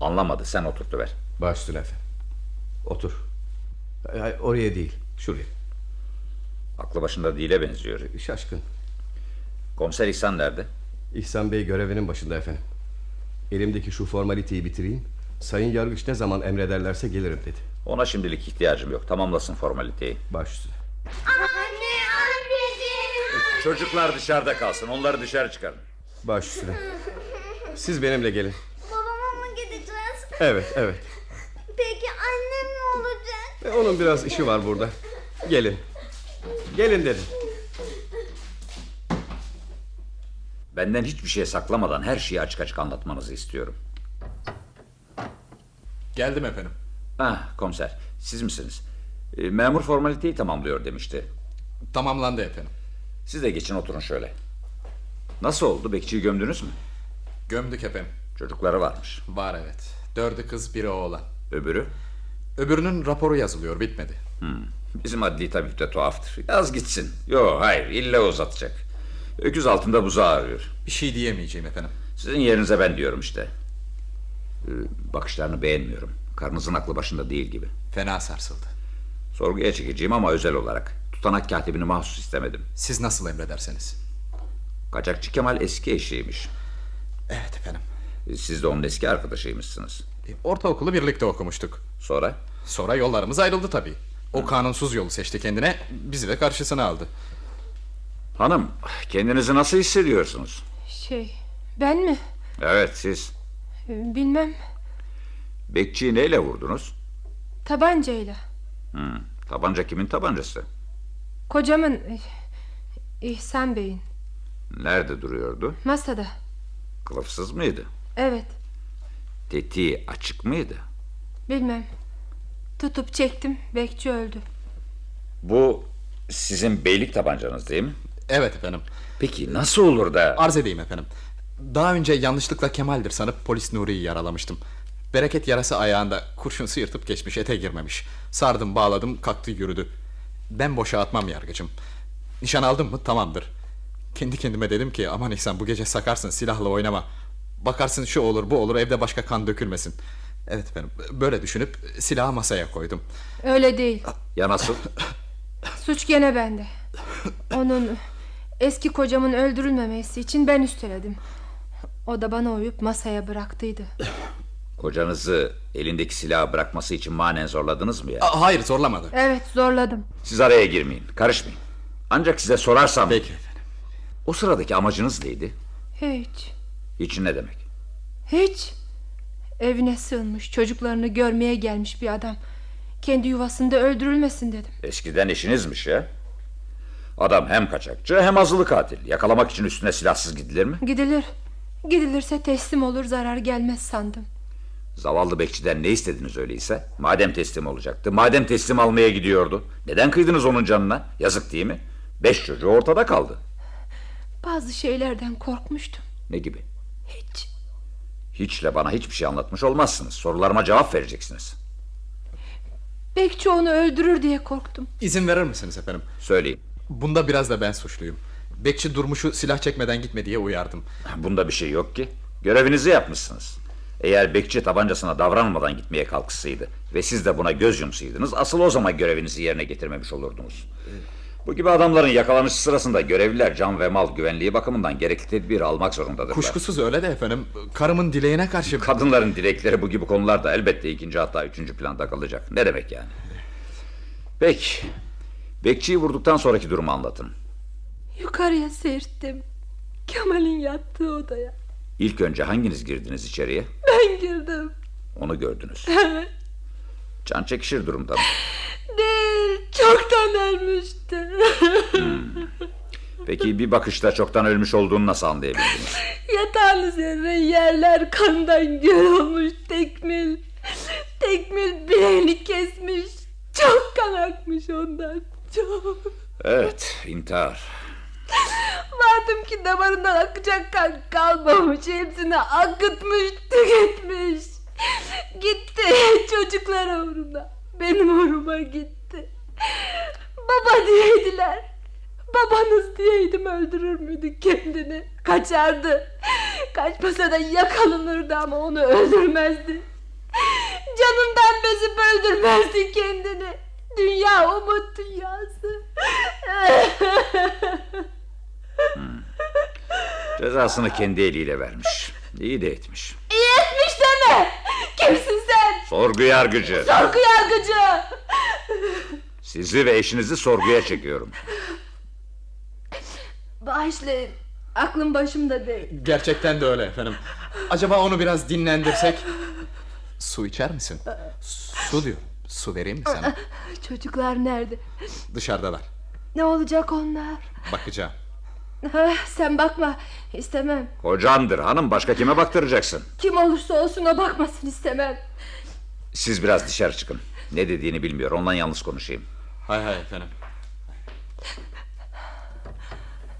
[SPEAKER 11] Anlamadı. Sen oturtuver.
[SPEAKER 7] Başüstüne efendim. Otur. Ay, ay, oraya değil. Şuraya.
[SPEAKER 11] Aklı başında dile benziyor.
[SPEAKER 7] Şaşkın.
[SPEAKER 11] Komiser İhsan nerede?
[SPEAKER 7] İhsan Bey görevinin başında efendim. Elimdeki şu formaliteyi bitireyim. Sayın yargıç ne zaman emrederlerse gelirim dedi.
[SPEAKER 11] Ona şimdilik ihtiyacım yok. Tamamlasın formaliteyi.
[SPEAKER 7] Başüstüne.
[SPEAKER 4] Anne, anneciğim.
[SPEAKER 11] Çocuklar dışarıda kalsın. Onları dışarı çıkarın.
[SPEAKER 7] Başüstüne. Siz benimle gelin.
[SPEAKER 4] Babama mı gideceğiz?
[SPEAKER 7] Evet, evet.
[SPEAKER 4] Peki annem ne olacak?
[SPEAKER 7] E, onun biraz işi var burada. Gelin. Gelin dedim.
[SPEAKER 11] Benden hiçbir şey saklamadan her şeyi açık açık anlatmanızı istiyorum.
[SPEAKER 6] Geldim efendim.
[SPEAKER 11] Ah komiser siz misiniz? E, Memur formaliteyi tamamlıyor demişti.
[SPEAKER 6] Tamamlandı efendim.
[SPEAKER 11] Siz de geçin oturun şöyle. Nasıl oldu? Bekçiyi gömdünüz mü?
[SPEAKER 6] Gömdük efendim.
[SPEAKER 11] Çocukları varmış.
[SPEAKER 6] Var evet. Dördü kız biri oğlan.
[SPEAKER 11] Öbürü?
[SPEAKER 6] Öbürünün raporu yazılıyor bitmedi.
[SPEAKER 11] Hmm, Bizim adli tabip de tuhaftır. Yaz gitsin. Yo hayır illa uzatacak. Öküz altında buzağı arıyor.
[SPEAKER 6] Bir şey diyemeyeceğim efendim.
[SPEAKER 11] Sizin yerinize ben diyorum işte. Ee, Bakışlarını beğenmiyorum. Karnınızın aklı başında değil gibi.
[SPEAKER 6] Fena sarsıldı.
[SPEAKER 11] Sorguya çekeceğim ama özel olarak. Tutanak katibini mahsus istemedim.
[SPEAKER 6] Siz nasıl emrederseniz.
[SPEAKER 11] Kaçakçı Kemal eski eşiymiş.
[SPEAKER 6] Evet efendim.
[SPEAKER 11] Ee, Siz de onun eski arkadaşıymışsınız.
[SPEAKER 6] E, Ortaokulu birlikte okumuştuk.
[SPEAKER 11] Sonra?
[SPEAKER 6] Sonra yollarımız ayrıldı tabii. O kanunsuz yolu seçti kendine, bizi de karşısına aldı.
[SPEAKER 11] Hanım, kendinizi nasıl hissediyorsunuz?
[SPEAKER 12] Şey ben mi?
[SPEAKER 11] Evet, siz.
[SPEAKER 12] Bilmem
[SPEAKER 11] Bekçiyi neyle vurdunuz?
[SPEAKER 12] tabancayla.
[SPEAKER 11] Hmm, tabanca kimin tabancası?
[SPEAKER 12] Kocamın eh, İhsan Bey'in
[SPEAKER 11] Nerede duruyordu?
[SPEAKER 12] masada.
[SPEAKER 11] Kılıfsız mıydı?
[SPEAKER 12] Evet
[SPEAKER 11] Tetiği açık mıydı?
[SPEAKER 12] bilmem. Tutup çektim bekçi öldü.
[SPEAKER 11] Bu sizin beylik tabancanız değil mi?
[SPEAKER 6] Evet efendim.
[SPEAKER 11] Peki nasıl olur da...
[SPEAKER 6] Arz edeyim efendim. Daha önce yanlışlıkla Kemal'dir sanıp polis Nuri'yi yaralamıştım. Bereket yarası ayağında kurşun sıyırtıp geçmiş ete girmemiş. Sardım bağladım kalktı yürüdü. Ben boşa atmam yargıcım. Nişan aldın mı tamamdır. Kendi kendime dedim ki aman İhsan bu gece sakarsın silahla oynama. Bakarsın şu olur bu olur evde başka kan dökülmesin. Evet efendim böyle düşünüp silahı masaya koydum.
[SPEAKER 12] Öyle değil
[SPEAKER 11] Ah, Ya nasıl?
[SPEAKER 12] suç gene bende. Onun eski kocamın öldürülmemesi için ben üsteledim. O da bana uyup masaya bıraktıydı.
[SPEAKER 11] Kocanızı elindeki silahı bırakması için manen zorladınız mı ya?
[SPEAKER 6] A- hayır zorlamadı.
[SPEAKER 12] Evet zorladım.
[SPEAKER 11] Siz araya girmeyin, karışmayın. Ancak size sorarsam... Peki efendim. O sıradaki amacınız neydi?
[SPEAKER 12] Hiç.
[SPEAKER 11] Hiç ne demek?
[SPEAKER 12] Hiç. Evine sığınmış çocuklarını görmeye gelmiş bir adam. Kendi yuvasında öldürülmesin dedim.
[SPEAKER 11] Eskiden eşinizmiş ya. Adam hem kaçakçı hem azılı katil. Yakalamak için üstüne silahsız gidilir mi?
[SPEAKER 12] Gidilir. Gidilirse teslim olur zarar gelmez sandım.
[SPEAKER 11] Zavallı bekçiden ne istediniz öyleyse? Madem teslim olacaktı, madem teslim almaya gidiyordu. Neden kıydınız onun canına? Yazık değil mi? Beş çocuğu ortada kaldı.
[SPEAKER 12] Bazı şeylerden korkmuştum.
[SPEAKER 11] Ne gibi? Hiç. Hiçle bana hiçbir şey anlatmış olmazsınız. Sorularıma cevap vereceksiniz.
[SPEAKER 12] Bekçi onu öldürür diye korktum.
[SPEAKER 6] İzin verir misiniz efendim?
[SPEAKER 11] Söyleyin.
[SPEAKER 6] Bunda biraz da ben suçluyum. Bekçi Durmuş'u silah çekmeden gitme diye uyardım.
[SPEAKER 11] Bunda bir şey yok ki. Görevinizi yapmışsınız. Eğer bekçi tabancasına davranmadan gitmeye kalkışsaydı ve E, siz de buna göz yumsaydınız asıl o zaman görevinizi yerine getirmemiş olurdunuz. Bu gibi adamların yakalanışı sırasında görevliler can ve mal güvenliği bakımından gerekli tedbiri almak zorundadırlar.
[SPEAKER 6] Kuşkusuz öyle de efendim. Karımın dileğine karşı...
[SPEAKER 11] Kadınların dilekleri bu gibi konularda elbette ikinci hatta üçüncü planda kalacak. Ne demek yani? Peki. Bekçiyi vurduktan sonraki durumu anlatın.
[SPEAKER 12] Yukarıya seyirttim. Kemal'in yattığı odaya.
[SPEAKER 11] İlk önce hanginiz girdiniz içeriye?
[SPEAKER 12] Ben girdim.
[SPEAKER 11] Onu gördünüz. Can çekişir durumda mı?
[SPEAKER 12] Değil çoktan ölmüştü.
[SPEAKER 11] Peki bir bakışta çoktan ölmüş olduğunu nasıl anlayabildiniz?
[SPEAKER 12] Yatağın üzerine yerler kandan göl olmuş tekmil. Tekmil bileğini kesmiş. Çok kan akmış ondan. Çok.
[SPEAKER 11] Evet, intihar.
[SPEAKER 12] Vardım ki damarından akacak kan kalmamış. Hepsini akıtmış, tüketmiş. Gitti çocuklar uğruna. Benim uğruma gitti. Baba diyeydiler. Babanız diyeydim öldürür müydü kendini? Kaçardı. Kaçmasa da yakalanırdı ama onu öldürmezdi. Canından bezip öldürmezdi kendini. Dünya umut dünyası.
[SPEAKER 11] Cezasını kendi eliyle vermiş. İyi de etmiş.
[SPEAKER 12] İyi etmiş deme. Kimsin sen?
[SPEAKER 11] Sorgu yargıcı.
[SPEAKER 12] Sorgu yargıcı.
[SPEAKER 11] Sizi ve eşinizi sorguya çekiyorum.
[SPEAKER 12] Bağışlayın. Aklım başımda değil.
[SPEAKER 6] Gerçekten de öyle efendim. Acaba onu biraz dinlendirsek? Su içer misin? Su diyorum. Su vereyim mi sana?
[SPEAKER 12] Çocuklar nerede?
[SPEAKER 6] Dışarıdalar.
[SPEAKER 12] Ne olacak onlar?
[SPEAKER 6] Bakacağım.
[SPEAKER 12] Ha, sen bakma. İstemem.
[SPEAKER 11] Kocandır hanım başka kime baktıracaksın?
[SPEAKER 12] Kim olursa olsun o bakmasın istemem.
[SPEAKER 11] Siz biraz dışarı çıkın. Ne dediğini bilmiyor ondan yalnız konuşayım.
[SPEAKER 6] Hay hay efendim.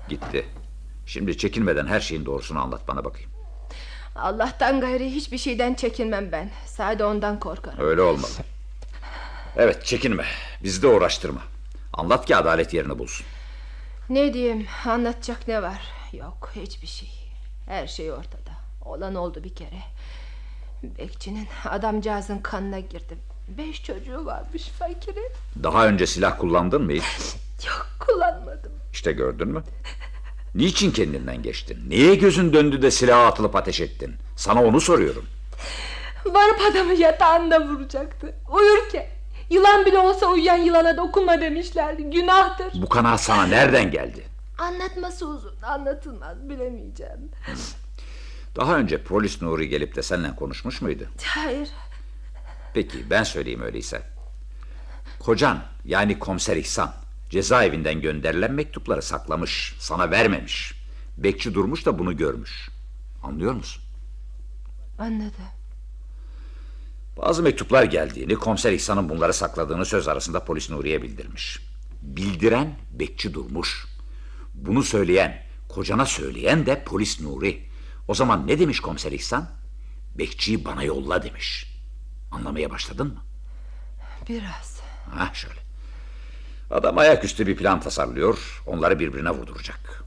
[SPEAKER 11] Gitti. Şimdi çekinmeden her şeyin doğrusunu anlat bana bakayım.
[SPEAKER 12] Allah'tan gayri hiçbir şeyden çekinmem ben. Sadece ondan korkarım.
[SPEAKER 11] Öyle olmalı. Evet çekinme. Bizi de uğraştırma. Anlat ki adalet yerini bulsun.
[SPEAKER 12] Ne diyeyim? Anlatacak ne var? Yok hiçbir şey. Her şey ortada. Olan oldu bir kere. Bekçinin adamcağızın kanına girdim. Beş çocuğu varmış fakirin.
[SPEAKER 11] Daha önce silah kullandın mı hiç?
[SPEAKER 12] Kullanmadım.
[SPEAKER 11] İşte gördün mü? Niçin kendinden geçtin? Niye gözün döndü de silaha atılıp ateş ettin? Sana onu soruyorum.
[SPEAKER 12] Varıp adamı yatağında vuracaktı. Uyurken. Yılan bile olsa uyuyan yılana dokunma demişlerdi. Günahtır.
[SPEAKER 11] Bu kanaat sana nereden geldi?
[SPEAKER 12] Anlatması uzun anlatılmaz bilemeyeceğim.
[SPEAKER 11] Daha önce polis Nuri gelip de seninle konuşmuş muydu?
[SPEAKER 12] Hayır
[SPEAKER 11] Peki ben söyleyeyim öyleyse. Kocan yani komiser İhsan cezaevinden gönderilen mektupları saklamış. Sana vermemiş. Bekçi durmuş da bunu görmüş. Anlıyor musun?
[SPEAKER 12] anladım.
[SPEAKER 11] Bazı mektuplar geldiğini komiser İhsan'ın bunları sakladığını söz arasında polis Nuri'ye bildirmiş. Bildiren bekçi durmuş. Bunu söyleyen, kocana söyleyen de polis Nuri. O zaman ne demiş komiser İhsan? Bekçiyi bana yolla demiş. Anlamaya başladın mı?
[SPEAKER 12] Biraz.
[SPEAKER 11] Ha şöyle. Adam ayaküstü bir plan tasarlıyor. Onları birbirine vurduracak.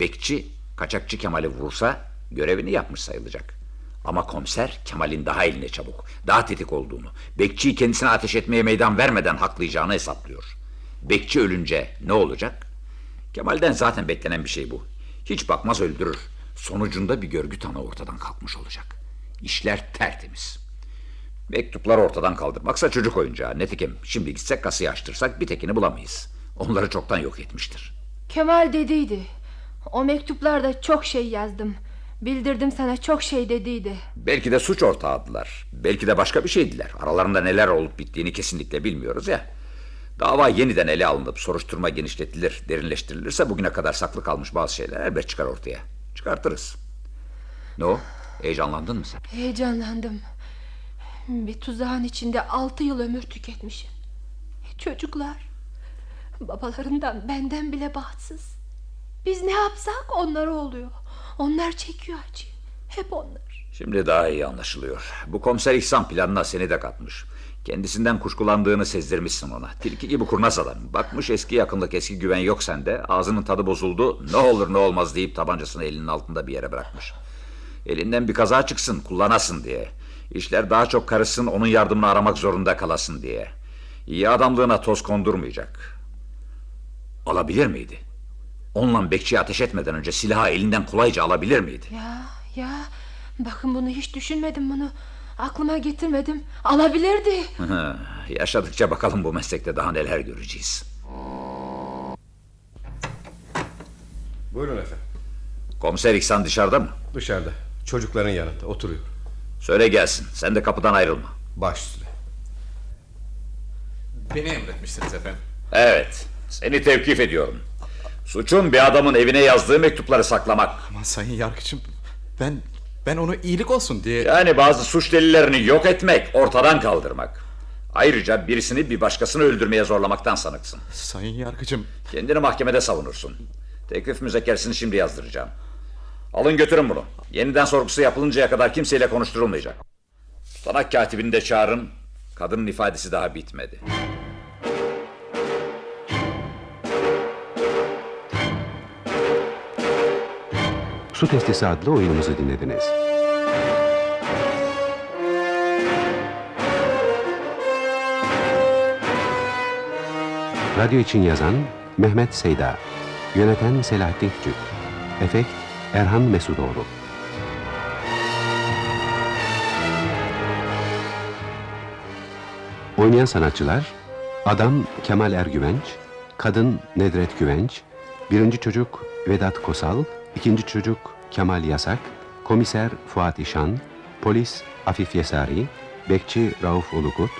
[SPEAKER 11] Bekçi kaçakçı Kemal'i vurursa görevini yapmış sayılacak. Ama komiser Kemal'in daha eline çabuk, daha tetik olduğunu, bekçiyi kendisine ateş etmeye meydan vermeden haklayacağını hesaplıyor. Bekçi ölünce ne olacak? Kemal'den zaten beklenen bir şey bu. Hiç bakmaz öldürür. Sonucunda bir görgü tanığı ortadan kalkmış olacak. İşler tertemiz. Mektupları ortadan kaldırmaksa çocuk oyuncağı. Netikim şimdi gitsek kasayı açtırsak bir tekini bulamayız. Onları çoktan yok etmiştir.
[SPEAKER 12] Kemal dediydi. O mektuplarda çok şey yazdım. Bildirdim sana çok şey dediydi.
[SPEAKER 11] Belki de suç ortağıdılar. Belki de başka bir şeydiler. Aralarında neler olup bittiğini kesinlikle bilmiyoruz ya. Dava yeniden ele alınıp soruşturma genişletilir, derinleştirilirse bugüne kadar saklı kalmış bazı şeyler elbet çıkar ortaya. Çıkartırız. Ne o? Heyecanlandın mı sen?
[SPEAKER 12] Heyecanlandım. Bir tuzağın içinde altı yıl ömür tüketmişim. Çocuklar. Babalarından benden bile bahtsız. Biz ne yapsak onlara oluyor. Onlar çekiyor acıyı. Hep onlar.
[SPEAKER 11] Şimdi daha iyi anlaşılıyor. Bu komiser İhsan planına seni de katmış. Kendisinden kuşkulandığını sezdirmişsin ona. Tilki gibi kurnaz adam. Bakmış eski yakınlık eski güven yok sende. Ağzının tadı bozuldu. Ne olur ne olmaz deyip tabancasını elinin altında bir yere bırakmış. Elinden bir kaza çıksın kullanasın diye. İşler daha çok karışsın onun yardımını aramak zorunda kalasın diye. İyi adamlığına toz kondurmayacak. Alabilir miydi? Onunla bekçiye ateş etmeden önce silahı elinden kolayca alabilir miydi?
[SPEAKER 12] Ya ya bakın bunu hiç düşünmedim bunu. Aklıma getirmedim. Alabilirdi.
[SPEAKER 11] Ha, Yaşadıkça bakalım bu meslekte daha neler göreceğiz.
[SPEAKER 7] Buyurun efendim.
[SPEAKER 11] Komiser İhsan dışarıda mı?
[SPEAKER 7] Dışarıda. Çocukların yanında oturuyor.
[SPEAKER 11] Söyle gelsin. Sen de kapıdan ayrılma.
[SPEAKER 7] Baş üstüne.
[SPEAKER 6] Beni emretmişsiniz efendim.
[SPEAKER 11] Evet. Seni tevkif ediyorum. Suçun bir adamın evine yazdığı mektupları saklamak.
[SPEAKER 6] Aman sayın yargıcım ben ben onu iyilik olsun diye...
[SPEAKER 11] Yani bazı suç delillerini yok etmek, ortadan kaldırmak. Ayrıca birisini bir başkasını öldürmeye zorlamaktan sanıksın.
[SPEAKER 6] Sayın yargıcım
[SPEAKER 11] Kendini mahkemede savunursun. Teklif müzekkersini şimdi yazdıracağım. Alın götürün bunu. Yeniden sorgusu yapılıncaya kadar kimseyle konuşturulmayacak. Sana katibini de çağırın. Kadının ifadesi daha bitmedi.
[SPEAKER 1] Su Testisi adlı oyunumuzu dinlediniz. Radyo için yazan Mehmet Seyda, yöneten Selahattin Küçük, efekt Erhan Mesudoğlu. Oynayan sanatçılar Adam Kemal Ergüvenç, Kadın Nedret Güvenç, Birinci çocuk Vedat Kosal, ikinci çocuk Kemal Yasak, Komiser Fuat İşan, Polis Afif Yesari, Bekçi Rauf Ulukut,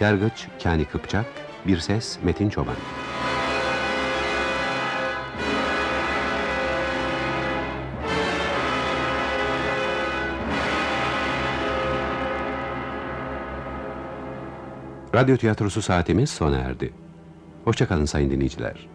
[SPEAKER 1] Yargıç Kani Kıpçak, Bir Ses Metin Çoban. Radyo tiyatrosu saatimiz sona erdi. Hoşçakalın sayın dinleyiciler.